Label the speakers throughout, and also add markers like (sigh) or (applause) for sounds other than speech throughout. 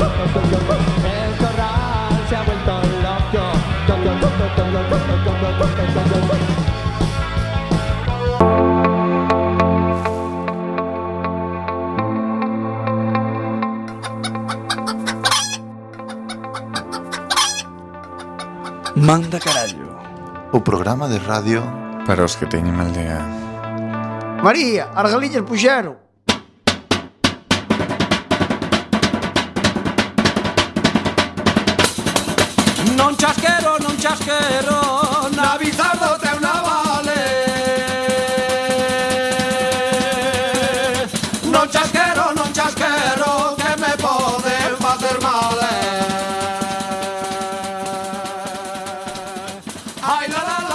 Speaker 1: El corral se ha vuelto loco. Loco, loco, loco, loco, loco, loco, loco.
Speaker 2: Manda carallo.
Speaker 3: O programa de radio
Speaker 4: Para os que teñen mal día
Speaker 5: María, as galiñas puxeron.
Speaker 6: Non chasquero, non chasquero Na bizardo teu navale Non chasquero, non chasquero Que me poden facer mal eh. Ai la la la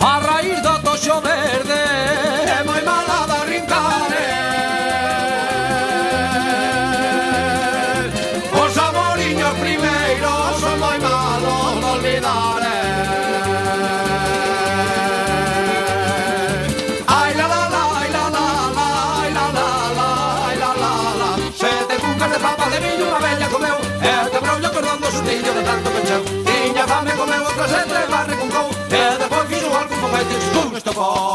Speaker 6: A raíz do toxo verde É moi mala da rincare Os amoriños primeiros Son moi malos de olvidar eh. Ai la la la, ai la la la Ai la la la, ai la la la Sete cucas de papa de millo Unha bella comeu E te brollo cordón do sustillo de tanto pecheu Tiña fame comeu outra sete e barre con cou E depois fixo algo con fete Con esto con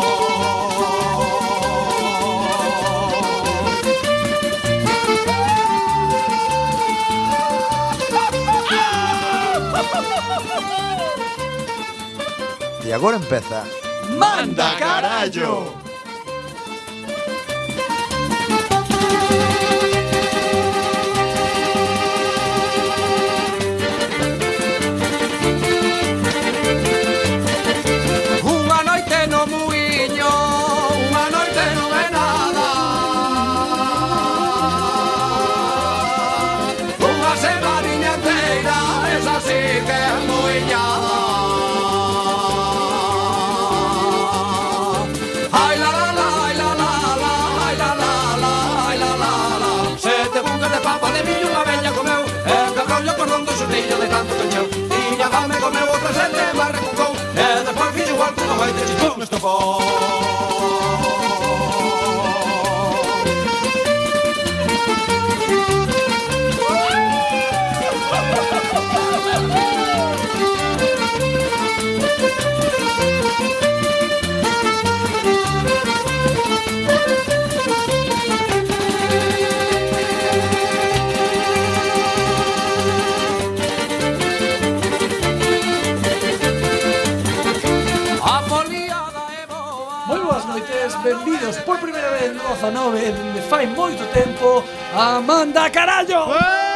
Speaker 7: E agora empeza
Speaker 6: Manda carallo Unha noite no muiño Unha noite non é nada Unha semaniña inteira Esa sí que é muiñada Ai la la la, ai la la la, ai la la la, ai la la la. Sete bucas de papa de millo unha bella comeu, e de rollo cordón do xurrillo de tanto cancheu. Tiña fame comeu outra sete e barra cucou, e despois fixo Eh, igual que non vai ter chispón estofón. A foliada é boa.
Speaker 8: Moi boas noites, benvidos por primeira vez no 19 dende fai moito tempo a Manda Carallo.
Speaker 5: ¡Eh!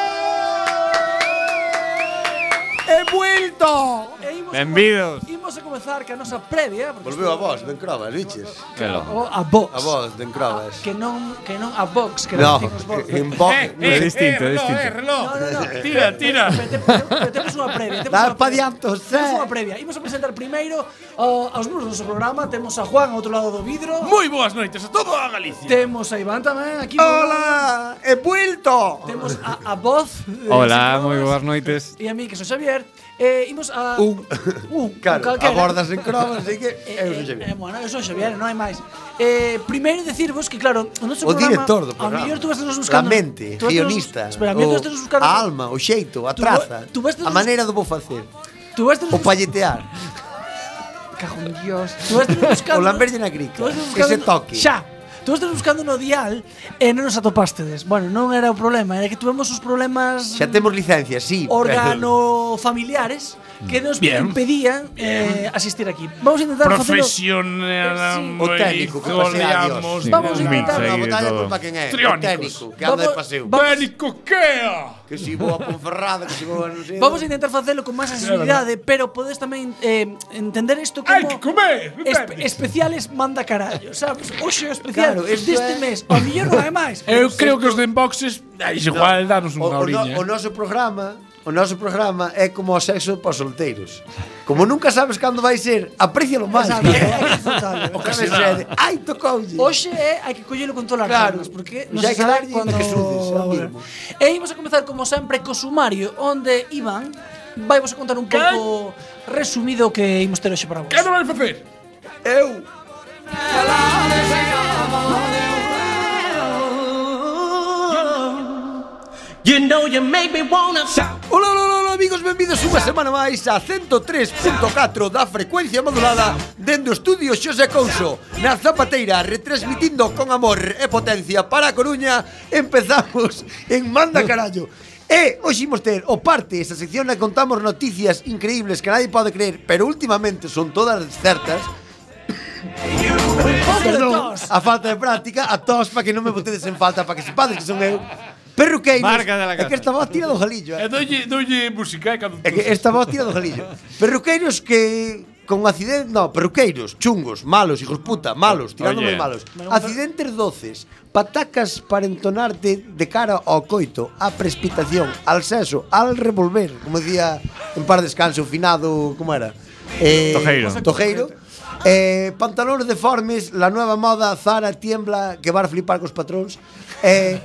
Speaker 5: He vuelto.
Speaker 8: E imos,
Speaker 4: Benvidos
Speaker 8: imos a comezar que a nosa previa, porque
Speaker 7: Volveu a voz, den crobas, biches
Speaker 4: Claro
Speaker 8: o a Vox,
Speaker 7: A voz, den crobas
Speaker 8: que non que non a Vox, que
Speaker 7: No,
Speaker 8: non
Speaker 7: (laughs)
Speaker 8: dicimos Vox.
Speaker 7: en voz
Speaker 5: Eh,
Speaker 4: É distinto, é distinto
Speaker 8: No, no, no.
Speaker 4: Tira, tira.
Speaker 8: Pero te- pero Temos unha previa, temos
Speaker 5: Dá
Speaker 8: unha
Speaker 5: pa eh.
Speaker 8: previa.
Speaker 5: diante, José.
Speaker 8: Temos unha previa. Imos a presentar primeiro ó, aos membros do noso programa, temos a Juan ao outro lado do vidro.
Speaker 9: Moi boas noites a todo a Galicia.
Speaker 8: Temos a Iván tamén aquí.
Speaker 5: eh. Hola, he vuelto.
Speaker 8: Temos a, a voz. eh,
Speaker 4: Hola,
Speaker 8: sin
Speaker 4: moi
Speaker 8: problemas.
Speaker 4: boas noites
Speaker 8: E a mí, que son Xavier, eh, imos a...
Speaker 7: Un.
Speaker 8: un
Speaker 7: Claro,
Speaker 8: un calquera.
Speaker 7: abordas en crobas, así que
Speaker 8: Eh,
Speaker 7: eu
Speaker 8: eh,
Speaker 7: non sei
Speaker 8: eh, bueno, eu son Xavier, non hai máis. Eh, primeiro decirvos que, claro, o noso
Speaker 7: O
Speaker 8: programa...
Speaker 7: director do programa.
Speaker 8: A mellor tú vas nos
Speaker 7: A
Speaker 8: buscando...
Speaker 7: mente,
Speaker 8: tú vas nos-
Speaker 7: guionista,
Speaker 8: Espera, a mellor tú vas nos
Speaker 7: o,
Speaker 8: buscando...
Speaker 7: a alma, o xeito, a
Speaker 8: Tú va-
Speaker 7: traza,
Speaker 8: tú vas nos
Speaker 7: a
Speaker 8: bus-
Speaker 7: maneira do vou facer,
Speaker 8: Tú vas nos
Speaker 7: o palletear,
Speaker 8: Cago en Dios. Tú vas nos
Speaker 7: (laughs) O
Speaker 8: buscando...
Speaker 7: lamberlle na crica,
Speaker 8: Tú vas nos buscando
Speaker 7: ese
Speaker 8: no-
Speaker 7: toque.
Speaker 8: Xa. Tú estás buscando no dial e non nos atopastedes. Bueno, non era o problema, era que tuvemos os problemas
Speaker 7: xa temos licencia, sí, (laughs)
Speaker 8: organofamiliares que nos
Speaker 9: Bien.
Speaker 8: impedían eh, asistir aquí. Vamos a intentar facelo.
Speaker 9: Profesional.
Speaker 7: o técnico que pasea a Dios,
Speaker 8: Vamos a
Speaker 4: Un mix
Speaker 8: intentar-
Speaker 4: aí
Speaker 7: a
Speaker 4: de
Speaker 7: botalla
Speaker 4: todo.
Speaker 7: culpa quen é, o
Speaker 9: Triónicos.
Speaker 7: técnico, que anda de
Speaker 8: Vamos-
Speaker 7: paseo,
Speaker 8: va-
Speaker 9: Técnico, que é?
Speaker 7: que si vou a Ponferrada, que si vou a non sei.
Speaker 8: Vamos a intentar facelo con máis sensibilidade, pero podes tamén eh, entender isto como Hai que comer, especiales manda carallo, sabes? Oxe o especial
Speaker 7: Claro,
Speaker 8: claro,
Speaker 7: isto
Speaker 8: deste
Speaker 7: é-
Speaker 8: mes, ao mellor non hai (laughs) máis.
Speaker 4: Eu Eh, creo que os de inboxes dais igual, danos
Speaker 7: O, o,
Speaker 4: unha
Speaker 7: no,
Speaker 4: oriña. eh.
Speaker 7: o noso programa O noso programa é como o sexo para os solteiros. Como nunca sabes cando vai ser, aprécialo máis. (laughs) o
Speaker 8: Exacto.
Speaker 7: que se dá. Ai, tocoulle.
Speaker 8: Oxe é, hai que collelo con todas as
Speaker 7: Claro.
Speaker 8: armas, porque
Speaker 7: Pois
Speaker 8: non se
Speaker 7: hai que
Speaker 8: sabe
Speaker 7: darlle
Speaker 8: cando...
Speaker 7: que sudes, é o
Speaker 8: Bueno. E imos a comezar, como sempre, co sumario, onde Iván vai vos a contar un pouco resumido o que imos ter hoxe para vos. Que non
Speaker 4: vai facer?
Speaker 8: Eu.
Speaker 6: You know you make me wanna shout.
Speaker 7: Hola, hola, hola, hola, amigos, benvidos unha semana máis a 103.4 da frecuencia modulada dende o estudio Xosé Couso na Zapateira, retransmitindo con amor e potencia para a Coruña empezamos en Manda Carallo E hoxe imos ter o parte esa sección na que contamos noticias increíbles que nadie pode creer pero últimamente son todas certas Perdón, a falta de práctica, a tos para que non me botedes en falta, para que sepades que son eu Perro que
Speaker 4: Marca de la
Speaker 7: é que
Speaker 4: casa.
Speaker 7: esta voz tira do jalillo, eh?
Speaker 4: E doulle, doulle música, eh, cando...
Speaker 7: É que esta voz tira do galillo. Perruqueiros que con accidente, no, perruqueiros, chungos, malos, hijos puta, malos, tirando moi
Speaker 4: Oye.
Speaker 7: malos. Accidentes doces, patacas para entonarte de cara ao coito, á precipitación, al sexo, al revolver, como decía en par descanso, finado, como era? Eh,
Speaker 10: Tojeiro.
Speaker 7: Tojeiro. Eh, pantalones deformes, la nueva moda, Zara tiembla, que va a flipar cos patróns. Eh,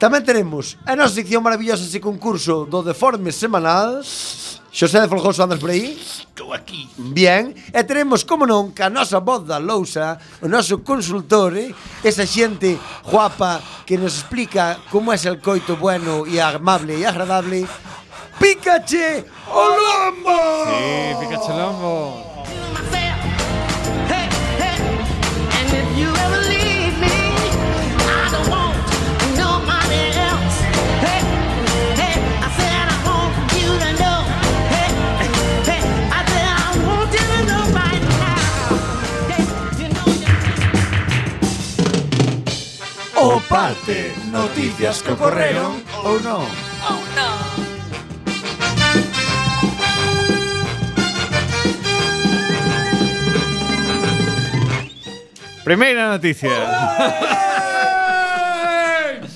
Speaker 7: tamén teremos a nosa sección maravillosa ese concurso do deformes semanal. Xosé de Folgoso, andas por aí?
Speaker 4: Estou aquí.
Speaker 7: Bien, e teremos, como non, que a nosa voz da lousa, o noso consultor, eh? esa xente guapa que nos explica como é el coito bueno e amable e agradable, Pikachu o lombo!
Speaker 10: Sí, Pikachu Lombo.
Speaker 6: And if you ever leave me, I don't want nobody else. Hey, hey, I said I want you to know. Hey, hey, I said I want you to know right
Speaker 7: O parte, noticias que ocorreron ou non.
Speaker 10: Primeira noticia.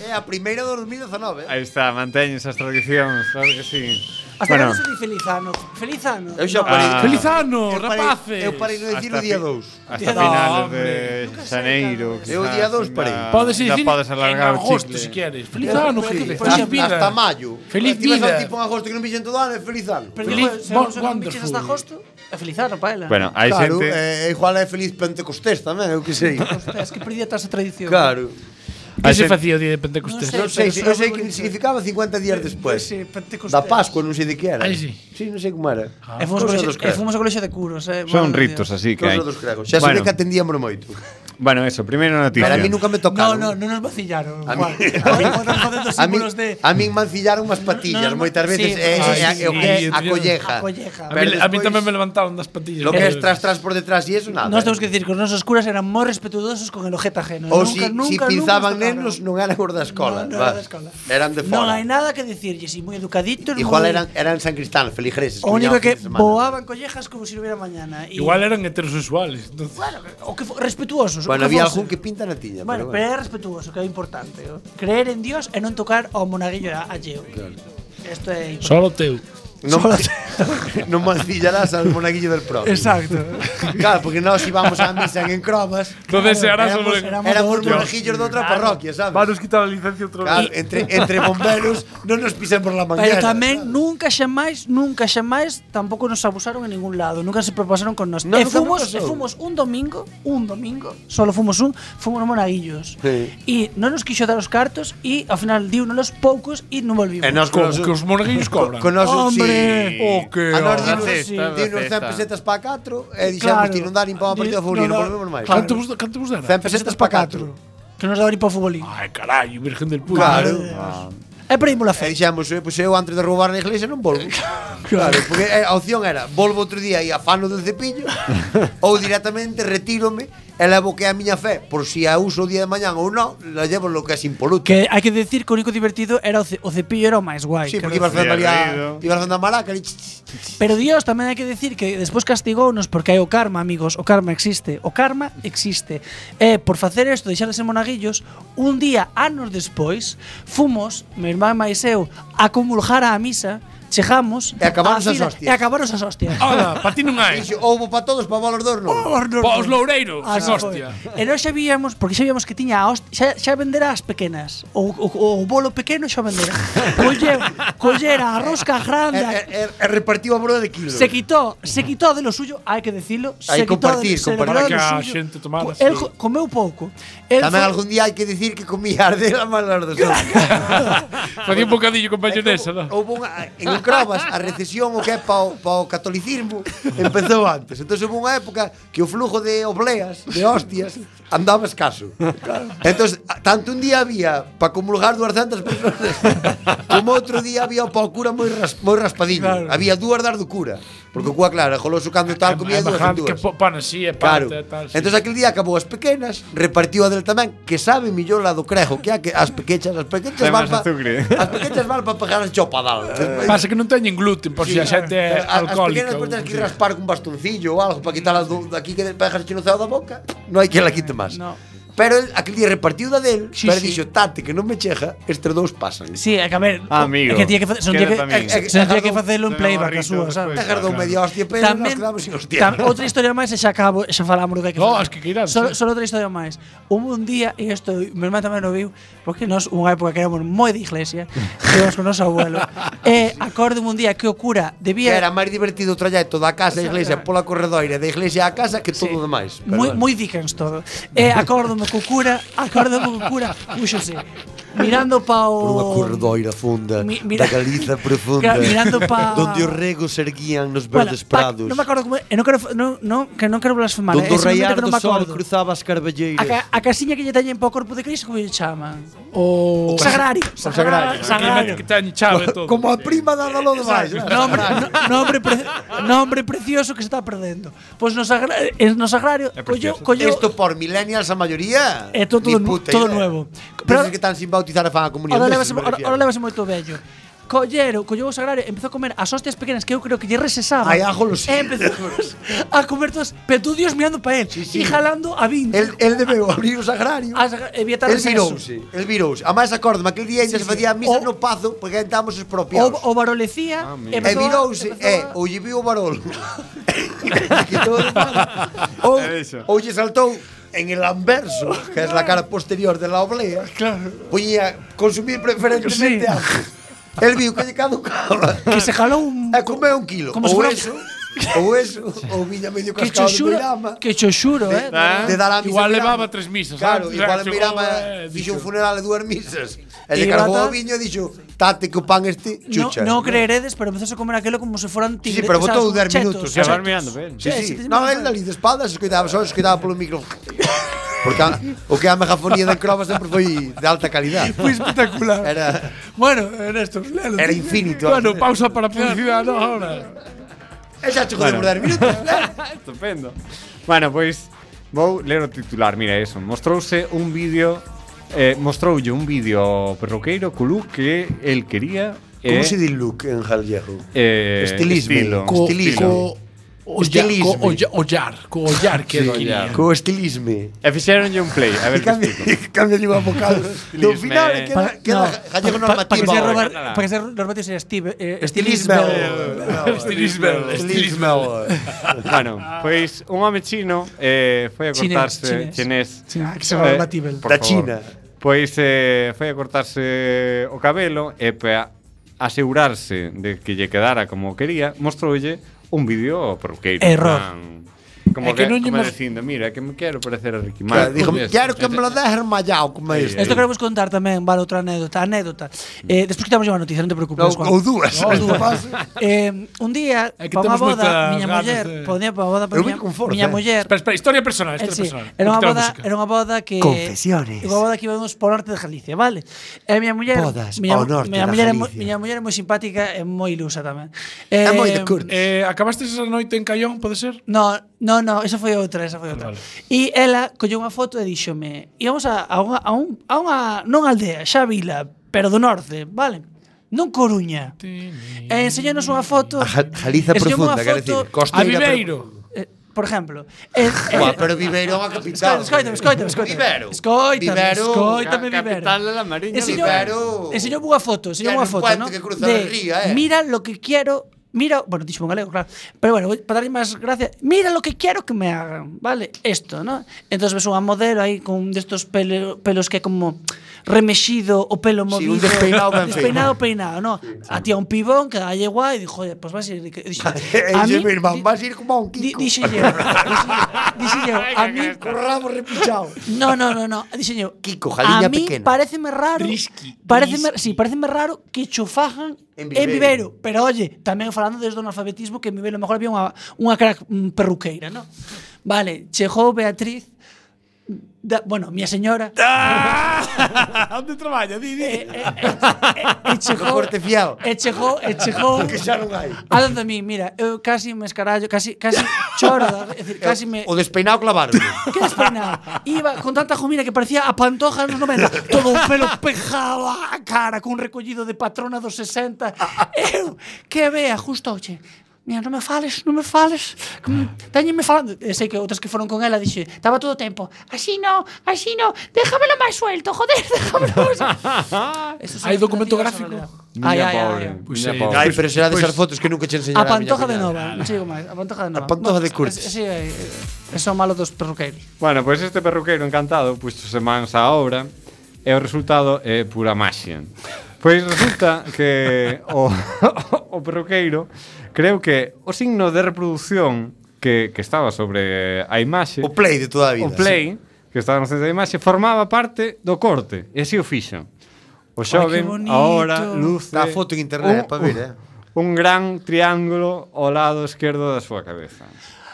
Speaker 7: É a primeira do 2019.
Speaker 10: Aí está, manteñen esas tradicións, claro que sí.
Speaker 8: Hasta bueno. cando se di feliz ano. Feliz ano.
Speaker 7: Eu xa
Speaker 8: No.
Speaker 7: parei.
Speaker 10: Ah. Feliz ano,
Speaker 7: eu parei,
Speaker 4: rapaces.
Speaker 7: Eu parei de dicir o
Speaker 10: Hasta
Speaker 7: día
Speaker 10: fi-
Speaker 7: 2.
Speaker 10: Hasta
Speaker 8: Día dos,
Speaker 10: finales
Speaker 4: hombre.
Speaker 10: de xaneiro.
Speaker 7: Eu o día dos parei.
Speaker 4: Podes
Speaker 10: ya
Speaker 4: dicir
Speaker 10: podes
Speaker 4: en
Speaker 10: alargar o
Speaker 4: agosto,
Speaker 10: chicle.
Speaker 4: si quieres. Feliz ano, gente.
Speaker 8: Por
Speaker 4: Feliz
Speaker 8: exemplo,
Speaker 4: vida.
Speaker 7: Hasta maio.
Speaker 4: Feliz
Speaker 7: Ti vas
Speaker 4: vida.
Speaker 7: ao tipo en agosto que non pixen todo ano, é feliz ano.
Speaker 8: Pero
Speaker 4: Feliz-
Speaker 8: digo, se non se non
Speaker 4: wonderful.
Speaker 8: biches hasta agosto, é feliz ano para ela.
Speaker 10: Bueno, hai
Speaker 7: claro,
Speaker 10: xente...
Speaker 7: eh, igual é feliz pentecostés tamén, eu que sei.
Speaker 8: Hostia, es que perdí a esa
Speaker 7: (laughs)
Speaker 8: tradición.
Speaker 7: claro.
Speaker 4: Que se
Speaker 10: Ayer-
Speaker 4: facía o día de Pentecostés?
Speaker 8: No
Speaker 7: Non sei,
Speaker 8: Pero
Speaker 7: se- eu
Speaker 8: será
Speaker 7: sei
Speaker 8: moi
Speaker 7: que
Speaker 8: bonito.
Speaker 7: significaba 50 días despois.
Speaker 8: Sí, Pentecostés.
Speaker 7: Da Pascua, non sei de que era.
Speaker 4: Ai, sí.
Speaker 7: Sí, non sei como era.
Speaker 8: E fomos,
Speaker 7: Cousa
Speaker 8: ao colexio-
Speaker 7: dos
Speaker 8: e
Speaker 7: cregos.
Speaker 8: fomos ao colexio de curos, eh.
Speaker 10: Son
Speaker 8: madre
Speaker 10: ritos
Speaker 8: mía.
Speaker 10: así que hai.
Speaker 7: Cousa dos cregos. Xa se
Speaker 10: bueno,
Speaker 7: ve que atendíamos moito.
Speaker 10: bueno, eso, primeira noticia.
Speaker 7: Pero a mí nunca me
Speaker 8: No,
Speaker 7: tocaron.
Speaker 8: no, non nos vacillaron.
Speaker 7: A mí,
Speaker 8: Juan.
Speaker 7: a mí,
Speaker 8: Podemos facer dos
Speaker 7: a mí,
Speaker 8: símbolos de
Speaker 7: a mí mancillaron unhas patillas
Speaker 8: No, no,
Speaker 7: moitas
Speaker 8: sí,
Speaker 7: veces é,
Speaker 8: sí,
Speaker 7: é, é o
Speaker 4: sí,
Speaker 7: que é
Speaker 4: sí,
Speaker 7: a
Speaker 4: sí.
Speaker 7: colleja.
Speaker 8: a colleja.
Speaker 4: A mí, a mí
Speaker 7: Pero
Speaker 4: tamén
Speaker 7: despois-
Speaker 4: me levantaron das patillas.
Speaker 7: Lo que
Speaker 4: Eh,
Speaker 7: es tras tras por detrás y eso nada.
Speaker 8: Nós temos que dicir que os nosos curas eran moi respetuosos con el ojete ajeno.
Speaker 7: O
Speaker 8: nunca,
Speaker 7: si,
Speaker 8: nunca,
Speaker 7: si
Speaker 8: nunca
Speaker 7: pinzaban
Speaker 8: nos tocaron.
Speaker 7: nenos non eran os da escola,
Speaker 8: No, no
Speaker 7: va.
Speaker 8: era da escola.
Speaker 7: Eran de
Speaker 8: Non
Speaker 7: fora.
Speaker 8: hai nada que dicirlle, si moi educaditos.
Speaker 7: Igual
Speaker 8: moi-
Speaker 7: eran eran San Cristán, feligreses.
Speaker 8: O único
Speaker 7: viñaban fin
Speaker 8: que
Speaker 7: de semana.
Speaker 8: voaban collejas como se si non hubiera mañana. Y,
Speaker 4: Igual eran heterosexuales. Entonces,
Speaker 8: Bueno, o que fo- respetuosos. o
Speaker 7: Bueno,
Speaker 8: que
Speaker 7: había
Speaker 8: fose.
Speaker 7: algún que pinta na tiña,
Speaker 8: Bueno,
Speaker 7: pero
Speaker 8: pero
Speaker 7: bueno.
Speaker 8: é respetuoso, que é o importante. o Creer en Dios e non tocar ao monaguillo a a Yeo. Esto é importante.
Speaker 4: solo teu.
Speaker 7: Non
Speaker 8: (laughs)
Speaker 7: non mancillarás al monaguillo del pro.
Speaker 8: Exacto.
Speaker 7: Claro, porque nós íbamos á misa en cromas.
Speaker 4: Entonces se hará
Speaker 8: éramos-
Speaker 4: solo.
Speaker 8: éramos-
Speaker 7: Éramos
Speaker 8: Dios.
Speaker 7: monaguillos de outra parroquia, sabes?
Speaker 4: Vanos quitar a licencia outra
Speaker 7: Claro,
Speaker 4: vez.
Speaker 7: entre entre bomberos non nos pisen por la
Speaker 8: Pero
Speaker 7: manguera.
Speaker 8: tamén
Speaker 7: sabes?
Speaker 8: nunca xamais, nunca xamais tampouco nos abusaron en ningún lado, nunca se propasaron con nós.
Speaker 7: No,
Speaker 8: e
Speaker 7: nunca
Speaker 8: fomos,
Speaker 7: nos pasou.
Speaker 8: e fomos un domingo, un domingo, solo fomos un, fomos monaguillos.
Speaker 7: Sí.
Speaker 8: E non nos quixo dar os cartos e ao final diu los poucos e non volvimos.
Speaker 7: E nós con
Speaker 4: Como
Speaker 7: os-
Speaker 4: que os monaguillos cobran.
Speaker 7: Con os
Speaker 8: Hombre.
Speaker 4: O que
Speaker 7: A nós
Speaker 4: o-
Speaker 7: dinos,
Speaker 8: Francés,
Speaker 7: sí,
Speaker 10: francés.
Speaker 7: dinos 100 pesetas para 4 e dixemos
Speaker 8: Claro.
Speaker 7: ti non dar nin para unha partida de fútbol, non volvemos máis.
Speaker 8: Claro.
Speaker 4: Canto vos, canto vos dera?
Speaker 7: 100 pesetas para 4.
Speaker 8: Que nos daba ir para o futbolín.
Speaker 4: Ai, carallo, virgen del puto.
Speaker 7: Claro.
Speaker 4: Ah.
Speaker 8: E perdimos
Speaker 7: E
Speaker 8: a fe.
Speaker 7: dixemos, eh, pois eu antes de roubar na iglesia non volvo. Claro, porque eh, a opción era Volvo outro día e afano do
Speaker 4: (laughs)
Speaker 7: cepillo Ou directamente retírome E levo que é a miña fe Por si a uso o día de mañán ou non La llevo lo que é sin poluto
Speaker 8: Que hai que decir que o único divertido era o, ce- o cepillo era o máis guai.
Speaker 7: Sí,
Speaker 8: creo.
Speaker 7: porque ibas facendo ali a, ibas facendo a maraca ali,
Speaker 8: Pero Dios tamén hai que decir que despois castigounos porque hai o karma, amigos, o karma existe, o karma existe. E por facer isto, deixar de ser monaguillos, un día anos despois, fomos, meu irmán máis eu, a comulgar á misa, chegamos
Speaker 7: E acabaron as
Speaker 8: á fila-
Speaker 7: hostias.
Speaker 8: E acabaron as hostias. (laughs)
Speaker 4: Ah,
Speaker 7: Ola, pa ti non hai. Houbo pa todos, pa vos dos non.
Speaker 4: Pa os loureiros,
Speaker 7: Ah,
Speaker 8: Así
Speaker 4: sen
Speaker 8: foi.
Speaker 4: hostia.
Speaker 8: E nós xa víamos, porque xa víamos que tiña a hostia, xa, xa vendera as pequenas. O, o, o bolo pequeno
Speaker 7: (laughs)
Speaker 8: xa vendera. Coller, coller a rosca grande.
Speaker 7: E, e, e repartiu a borda de kilos.
Speaker 8: Se quitó, se quitó de lo suyo, hai que decirlo,
Speaker 7: Hai
Speaker 8: se quitó
Speaker 7: compartir,
Speaker 8: de, se
Speaker 7: compartir. Para que
Speaker 8: lembrou de lo
Speaker 7: a
Speaker 8: suyo. Pues,
Speaker 7: xente tomara,
Speaker 8: Co- El
Speaker 7: sí.
Speaker 8: co- comeu pouco. El
Speaker 7: Tamén
Speaker 8: foi-
Speaker 7: algún día hai que dicir que comía (laughs) arde la mala
Speaker 8: (laughs)
Speaker 7: dos
Speaker 4: Facía un bocadillo con mayonesa, da.
Speaker 7: Houve unha, en Ucrobas a recesión o que é pa o, pa o catolicismo empezou antes. Entón houve unha época que o flujo de obleas, de hostias, andaba escaso. Entón, tanto un día había pa comulgar 200 personas como outro día había o pa o cura moi, ras, moi raspadiño. Claro. Había dúas das do cura. Porque o cua, claro, goloso cando tal comía dúas en dúas.
Speaker 4: Que po- pan así, e
Speaker 7: Claro.
Speaker 4: parte, e tal. sí.
Speaker 7: Entón aquel día acabou as pequenas, repartiu a del tamén, que sabe millor la do crejo, que a que as pequechas, as pequechas
Speaker 4: Ten
Speaker 7: van
Speaker 4: máis
Speaker 7: pa,
Speaker 4: azucre.
Speaker 7: as pequechas van pa pagar as chopadal.
Speaker 4: Pasa que non teñen gluten, por si a xente é
Speaker 7: Eh, A- As pequenas
Speaker 4: alcohólica.
Speaker 7: pois
Speaker 4: ou-
Speaker 7: tens que raspar cun bastoncillo ou algo para quitarlas do, daqui que para dejar chinozado da boca. Non hai que la quite máis.
Speaker 8: No.
Speaker 7: Pero el, aquel día repartiu da del,
Speaker 8: Sí,
Speaker 7: pero
Speaker 8: sí.
Speaker 7: dixo, tate, que non me chega, estes dous pasan.
Speaker 8: Sí, é que a ver,
Speaker 7: Ah,
Speaker 8: é que tiña que fa- se non tiña que- se non tiña que facelo en playback a
Speaker 7: pues.
Speaker 8: súa, sabes?
Speaker 7: Agardou media hostia, pero nos
Speaker 8: Tamén-
Speaker 7: quedamos sin hostia.
Speaker 8: Tam, outra historia máis e xa acabo, e xa falamos do que hai que
Speaker 7: No, as
Speaker 8: falar.
Speaker 7: que queiras,
Speaker 8: Solo,
Speaker 7: sí.
Speaker 8: solo outra historia máis. Hubo un día, e isto meu irmán tamén o viu, porque nós unha época que éramos moi de iglesia, (laughs) íbamos con
Speaker 7: (laughs)
Speaker 8: noso abuelo. e acorde un día que o cura
Speaker 7: Que
Speaker 8: debía
Speaker 7: era máis divertido o trayecto da casa á iglesia pola corredoira da iglesia á casa que todo o demais. Pero
Speaker 8: Moi,
Speaker 7: bueno.
Speaker 8: moi Dickens todo. E acórdome co cura, acórdome co cura, puxose, mirando pa
Speaker 7: Por unha
Speaker 8: o...
Speaker 7: corredoira funda
Speaker 8: Oh, Mi- mira-
Speaker 7: da
Speaker 8: (laughs)
Speaker 7: Galiza profunda
Speaker 8: Claro, mirando pa-
Speaker 7: donde os regos erguían nos
Speaker 8: Bueno,
Speaker 7: verdes
Speaker 8: pa-
Speaker 7: prados
Speaker 8: Non me acordo como... E non quero, non, non, que non quero blasfemar.
Speaker 7: donde
Speaker 8: eh,
Speaker 7: o
Speaker 8: simplemente
Speaker 7: raiar
Speaker 8: que non
Speaker 7: do
Speaker 8: me
Speaker 7: sol
Speaker 8: acordo.
Speaker 7: cruzaba as carbelleiras
Speaker 8: A, ca- a casiña que lle teñen pa o corpo de Cristo como lle chaman. O sagrario, Ah,
Speaker 7: O sagrario.
Speaker 8: sagrario.
Speaker 4: Que teñen chave todo.
Speaker 7: Como a prima da Daló de Baix.
Speaker 8: Nombre, no- nombre, pre- nombre precioso que se está perdendo. Pois no, sagra eh, no sagrario colleu, colleu
Speaker 7: Isto por millennials a maioría.
Speaker 8: É Eh, todo
Speaker 7: Ni
Speaker 8: nu-
Speaker 7: puta
Speaker 8: todo
Speaker 7: idea.
Speaker 8: nuevo.
Speaker 7: Pero que están sin bautizar a fan a comunión.
Speaker 8: Ahora
Speaker 7: deses,
Speaker 8: levase,
Speaker 7: me
Speaker 8: ahora,
Speaker 7: refiero.
Speaker 8: ahora levase moito vello. Collero, collou o sagrario, empezou a comer as hostias pequenas que eu creo que lle resesaban.
Speaker 7: Ai, a golosina.
Speaker 8: E empezou a comer todas, pero tú dios mirando para él,
Speaker 7: sí.
Speaker 8: e jalando a Ah, 20.
Speaker 7: El, el debeu abrir o sagrario.
Speaker 8: As, evitar
Speaker 7: El virouse, el virouse. A máis acorde, aquel día ainda se facía a misa no pazo porque entramos
Speaker 8: O,
Speaker 7: expropiados.
Speaker 8: o barolecía,
Speaker 7: E virouse, eh, ou lle viu o barolo. Quitou do pala. ou, ou lle saltou en el anverso, que es la cara posterior de la oblea, claro. poñía consumir preferentemente sí. antes. El viu que lle caducaba.
Speaker 8: Que se jalou
Speaker 7: (laughs)
Speaker 8: un...
Speaker 7: E comeu un kilo.
Speaker 8: Como se
Speaker 7: ou
Speaker 8: fuera-
Speaker 7: eso, ou eso, ou viña medio
Speaker 8: Que
Speaker 7: cascado de
Speaker 8: choxuro,
Speaker 7: Meirama.
Speaker 8: que choxuro, eh.
Speaker 7: De, de dar a misa
Speaker 4: Igual
Speaker 7: en Meirama.
Speaker 4: levaba tres misas,
Speaker 7: Claro,
Speaker 4: ¿sabes?
Speaker 7: igual en
Speaker 4: Chegou,
Speaker 7: Meirama
Speaker 4: eh,
Speaker 7: fixo un
Speaker 4: dixo.
Speaker 7: funeral de dúas misas. E
Speaker 8: E
Speaker 7: lle cargou
Speaker 8: bata-
Speaker 7: o viño e dixo, tate que o pan este
Speaker 8: No,
Speaker 7: chucha.
Speaker 8: no creeredes, pero empezou a comer aquilo como se foran
Speaker 7: Sí, sí,
Speaker 8: tigres.
Speaker 7: pero botou 10 minutos.
Speaker 8: chetos, chetos. (laughs)
Speaker 7: Sí,
Speaker 8: Eh,
Speaker 7: sí.
Speaker 8: se te-
Speaker 7: Non, el ali de espaldas, escoitaba, só escoitaba polo micro. Porque a, o que a megafonía de Crova sempre foi de alta calidad.
Speaker 11: Foi espectacular.
Speaker 7: Era,
Speaker 11: Bueno, Ernesto, léalo.
Speaker 7: era infinito.
Speaker 11: Bueno, pausa para publicidad, ¿no? Ahora.
Speaker 7: E xa chegou de
Speaker 10: Bueno.
Speaker 7: mudar minutos.
Speaker 10: Estupendo. Bueno, pois vou ler o titular, mira eso. Mostrouse un vídeo eh, mostroulle un vídeo ao perroqueiro co look que el quería
Speaker 7: Como
Speaker 10: eh,
Speaker 7: se di look en Jallejo?
Speaker 10: eh,
Speaker 7: Estilisme.
Speaker 10: estilo,
Speaker 7: Co-
Speaker 10: estilo.
Speaker 7: co-
Speaker 4: Estilismo. Ollar, co ollar
Speaker 7: Sí,
Speaker 4: que doía.
Speaker 7: Co estilisme.
Speaker 10: E fixeronlle un play, a ver que
Speaker 7: (laughs) Cambia- Cámbialle unha vocal. Do
Speaker 10: Estilisme.
Speaker 7: final queda,
Speaker 8: Para-
Speaker 7: queda
Speaker 8: no,
Speaker 7: gallego
Speaker 8: pa- pa- pa
Speaker 7: normativo.
Speaker 8: que sea robar- pa que sea normativo sería Steve, eh,
Speaker 7: Estilismo.
Speaker 4: (laughs)
Speaker 8: Estilismo.
Speaker 7: Estilismo. Estilismo.
Speaker 10: bueno, pois un home chino eh, foi a
Speaker 8: Chinés,
Speaker 10: cortarse
Speaker 8: chinés.
Speaker 10: chinés. Eh,
Speaker 8: Chinés, ah, que se vai ao Latibel.
Speaker 10: por
Speaker 7: Da
Speaker 10: favor.
Speaker 7: China.
Speaker 10: Pois eh, foi a cortarse o cabelo e para asegurarse de que lle quedara como quería, mostroulle un vídeo ao perruqueiro.
Speaker 8: Error.
Speaker 10: En plan, Como
Speaker 4: É que
Speaker 10: que,
Speaker 4: non lle
Speaker 10: como
Speaker 4: mas-
Speaker 10: dicindo, mira, que me quero parecer a Ricky
Speaker 7: Claro,
Speaker 10: Martin.
Speaker 7: dijo,
Speaker 10: Eso.
Speaker 7: quero que me lo dejes armallado como
Speaker 10: Sí,
Speaker 7: este.
Speaker 8: Esto queremos contar tamén, vale, outra anécdota, anécdota. Eh, despois quitamos unha noticia, non te preocupes,
Speaker 7: Ou-
Speaker 8: Juan.
Speaker 7: ou dúas.
Speaker 8: Ou dúas. (laughs) eh, un día,
Speaker 4: É que
Speaker 8: pa unha
Speaker 4: temos
Speaker 8: boda,
Speaker 4: moitas
Speaker 8: miña
Speaker 4: ganas
Speaker 8: muller,
Speaker 4: de-
Speaker 8: podía pa unha boda, pero
Speaker 4: Eu
Speaker 8: miña,
Speaker 4: vin con forza,
Speaker 8: miña
Speaker 4: eh.
Speaker 8: muller...
Speaker 4: Espera, espera, historia personal, historia
Speaker 8: Eh, sí,
Speaker 4: personal.
Speaker 8: Era unha
Speaker 4: Quitamos
Speaker 8: boda,
Speaker 4: música.
Speaker 8: era unha boda que
Speaker 4: Confesiones.
Speaker 8: Era unha boda que íbamos por norte de Galicia, vale? Eh, E a miña muller,
Speaker 4: Bodas
Speaker 8: miña,
Speaker 4: ao norte
Speaker 8: miña
Speaker 4: da
Speaker 8: muller, é moi-
Speaker 4: Galicia.
Speaker 8: miña muller é moi simpática e moi ilusa tamén. Eh,
Speaker 4: É moi de Eh, acabaste esa noite en Callón, pode ser?
Speaker 8: No, no, no, esa foi outra, esa foi outra.
Speaker 4: Vale.
Speaker 8: E ela colleu unha foto e díxome, íbamos a, a, unha, a, un, a unha, non aldea, xa vila, pero do norte, vale? Non Coruña. E enseñanos unha foto.
Speaker 7: A Ja- Jaliza profunda,
Speaker 8: enseñoume unha
Speaker 7: quero
Speaker 8: foto-
Speaker 7: dicir, costeira A Viveiro.
Speaker 8: Eh, Por exemplo. Eh,
Speaker 7: Buah, pero Viveiro é unha capital.
Speaker 8: Escoitame, escoitame, escoitame.
Speaker 7: Vivero.
Speaker 8: Escoitame,
Speaker 7: Vivero.
Speaker 8: escoitame,
Speaker 7: Ca-
Speaker 8: Vivero.
Speaker 7: capital de la Mariña,
Speaker 8: Enseñou-
Speaker 7: Vivero.
Speaker 8: Enseñou unha foto, enseñou
Speaker 7: Ten
Speaker 8: unha
Speaker 7: un
Speaker 8: foto,
Speaker 7: puente
Speaker 8: ¿no?
Speaker 7: que cruza
Speaker 8: De,
Speaker 7: el río, eh.
Speaker 8: Mira lo que quiero, mira, bueno, dicho en galego, claro. Pero bueno, voy- para darle más gracias, mira lo que quiero que me hagan, ¿vale? Esto, ¿no? Entonces ves unha modelo aí con de estos pelo- pelos que é como remexido o pelo
Speaker 7: Sí,
Speaker 8: movido.
Speaker 7: un despeinado ben feito.
Speaker 8: Despeinado, peinado, ¿no? A tía un pibón que dalle guai e dixo, "Joder, pues vas a ir que-". Dixo, a mí
Speaker 7: (laughs) Ese mi irmán, vas a ir como a un
Speaker 8: Kiko. Díxelle, díxelle, a mí
Speaker 7: con rabo
Speaker 8: (laughs)
Speaker 7: repichado.
Speaker 8: No, no, no, no, díxelle,
Speaker 7: Kiko, jaliña
Speaker 8: a mí
Speaker 7: pequena.
Speaker 8: pareceme raro. pareceme, sí, pareceme raro que chofajan en
Speaker 7: Viveiro.
Speaker 8: Viveiro. pero oye, tamén falando desde un alfabetismo que en Viveiro a lo mejor había unha unha crack mm, perruqueira, ¿no? Vale, chegou Beatriz da, bueno, miña
Speaker 4: (laughs)
Speaker 8: señora.
Speaker 4: Ah,
Speaker 8: Eh,
Speaker 4: Onde traballa, di, di.
Speaker 8: E chegou, e chegou, e chegou.
Speaker 4: Que xa non hai.
Speaker 8: A donde a mí, mira, eu casi me escarallo, casi, casi choro, é dicir, casi me...
Speaker 7: O despeinado
Speaker 8: (laughs)
Speaker 7: clavaron.
Speaker 8: Que despeinado. Iba con tanta jumina que parecía a pantoja nos 90. Todo un pelo pejado á cara, cun recollido de patrona dos 60. Eu, que vea, justo, che, Mira, non me fales, non me fales. Téñeme falando. E sei que outras que foron con ela dixe, estaba todo o tempo. Así no, así no, déjamelo máis suelto, joder, (laughs) déjamelo máis Eso sí,
Speaker 4: Hai documento
Speaker 8: no digas
Speaker 4: gráfico.
Speaker 8: realidad. Ai, ai, ai, ai.
Speaker 4: Pois
Speaker 7: Miña
Speaker 4: sí.
Speaker 7: pobre. Ai, pero será desas fotos que nunca che
Speaker 8: A
Speaker 7: enseñará a miña
Speaker 8: pantoja de
Speaker 7: cuñada.
Speaker 8: nova, non sigo máis. A pantoja de nova.
Speaker 7: A pantoja de
Speaker 8: Bueno,
Speaker 7: Curtis.
Speaker 8: es- Sí, é- é- son malos dos perruqueiros.
Speaker 10: Bueno, pois este perruqueiro encantado puxose mans á obra e o resultado é pura maxia. Pois resulta que o, (laughs) o perruqueiro creo que o signo de reproducción que, que estaba sobre a imaxe
Speaker 7: O play de toda a vida,
Speaker 10: O play que estaba no centro da imaxe formaba parte do corte e así o fixo. O xoven
Speaker 7: bonito.
Speaker 10: ahora luce
Speaker 7: Está a foto en internet pa ver, eh.
Speaker 10: Un gran triángulo ao lado esquerdo da súa cabeza.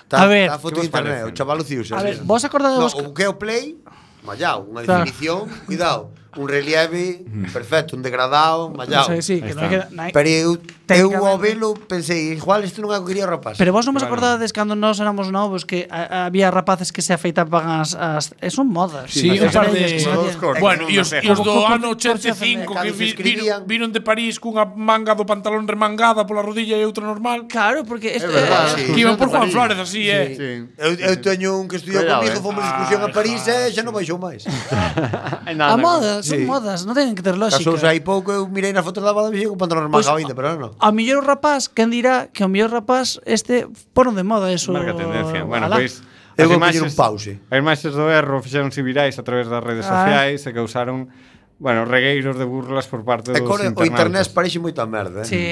Speaker 7: Está-
Speaker 10: A ver,
Speaker 7: está a foto en
Speaker 10: que vos
Speaker 7: internet,
Speaker 10: parece?
Speaker 7: o chaval uciuse.
Speaker 8: A ver, vos acordadevos
Speaker 7: No, o que é o play, mallao, unha
Speaker 8: Claro.
Speaker 7: definición, cuidado. Un relieve, perfecto, un degradado, mallao.
Speaker 8: sei, sí, que non hai que- non hai-
Speaker 7: Pero eu, eu
Speaker 8: Técnicamente-
Speaker 7: ao velo pensei, igual isto non é o que quería o rapaz.
Speaker 8: Pero vos non vos acordades cando nós éramos novos que a, había rapaces que se afeitaban as, as eh, son modas.
Speaker 4: Sí,
Speaker 8: As
Speaker 4: un par de...
Speaker 8: estrellas que se facían.
Speaker 4: Bueno, e os, e os do
Speaker 8: Como- como-
Speaker 4: ano 85 que
Speaker 8: Cando se
Speaker 4: vi, viron, viron de París cunha manga do pantalón remangada pola rodilla e outra normal.
Speaker 8: Claro, porque eh,
Speaker 4: isto
Speaker 8: Ah,
Speaker 7: verdad, sí.
Speaker 4: Que iban por
Speaker 7: Son de
Speaker 4: Juan
Speaker 7: París.
Speaker 4: Flores, así,
Speaker 7: Sí.
Speaker 4: eh.
Speaker 7: Sí. Eu, eu teño un que estudiou
Speaker 4: Cuidado,
Speaker 7: comigo,
Speaker 4: eh.
Speaker 7: fomos excursión a
Speaker 4: Ai,
Speaker 7: París e xa non baixou máis.
Speaker 8: A moda, son modas, non teñen que ter lógica.
Speaker 7: Casouse aí pouco, eu mirei na foto da boda e vixen con pantalón
Speaker 8: Pois,
Speaker 7: remangado ainda, pero non.
Speaker 8: A mellor o rapaz, quen dirá que o mellor rapaz este poron de moda eso.
Speaker 10: Marca tendencia. Bueno,
Speaker 8: alá.
Speaker 10: pois
Speaker 7: Eu
Speaker 10: as
Speaker 7: vou poñer un pause.
Speaker 10: As imaxes do erro fixéronse virais a través das redes
Speaker 7: Ah.
Speaker 10: sociais e causaron bueno, regueiros de burlas por
Speaker 7: E
Speaker 10: parte dos
Speaker 7: cor,
Speaker 10: internautas.
Speaker 7: o internet parece moita merda, eh?
Speaker 8: Sí.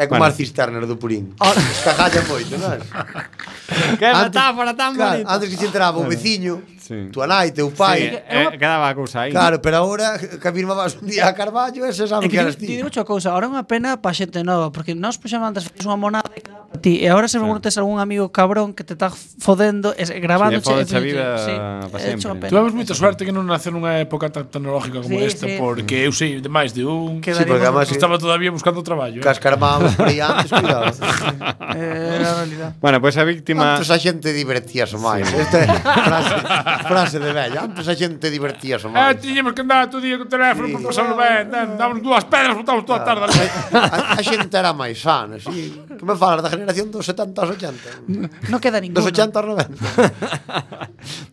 Speaker 7: É como
Speaker 10: Bueno.
Speaker 7: as cisternas do Purín. Cagalla moito, non?
Speaker 10: Que metáfora tan
Speaker 7: claro,
Speaker 10: bonita.
Speaker 7: Antes que se entraba o
Speaker 10: Claro.
Speaker 7: veciño,
Speaker 10: Sí.
Speaker 7: tua nai, teu pai.
Speaker 10: Sí, eh, quedaba a cousa aí. (laughs)
Speaker 7: Claro, pero ahora que firmabas un día a Carballo, ese
Speaker 8: É
Speaker 7: sabe
Speaker 8: que
Speaker 7: que eras
Speaker 8: ti,
Speaker 7: ti.
Speaker 8: ti digo unha cousa, ahora é unha pena pa xente nova, porque nós puxamos antes fixemos unha monada e quedaba pa ti, e agora se claro. tes algún amigo cabrón que te está fodendo, es, grabándoche,
Speaker 10: fode
Speaker 8: e-
Speaker 10: a vida
Speaker 8: sí,
Speaker 10: pa
Speaker 8: é hecho
Speaker 10: sempre.
Speaker 8: unha pena.
Speaker 4: Tuvemos moita suerte que non nace nunha época tan tecnológica como
Speaker 8: Sí,
Speaker 4: esta,
Speaker 8: sí.
Speaker 4: porque eu sei de máis de un
Speaker 8: Sí, porque
Speaker 7: además-
Speaker 4: estaba todavía buscando traballo. eh.
Speaker 7: Cascarmábamos por aí antes, cuidado.
Speaker 10: (laughs)
Speaker 8: Eh,
Speaker 10: Bueno, pois pues a víctima...
Speaker 7: Antes a xente divertíase máis. Esta é frase, frase de vella. Antes a xente divertíase máis.
Speaker 4: Ah, tiñemos que andar todo o día co teléfono para pasarlo ben,
Speaker 8: Ah.
Speaker 4: dan- damos dúas pedras, botamos toda a tarde. ali.
Speaker 7: A, a xente era máis sana, sí. Que me falas da generación dos 70 aos 80?
Speaker 8: Non queda
Speaker 7: Dos
Speaker 8: ninguno.
Speaker 7: 80 aos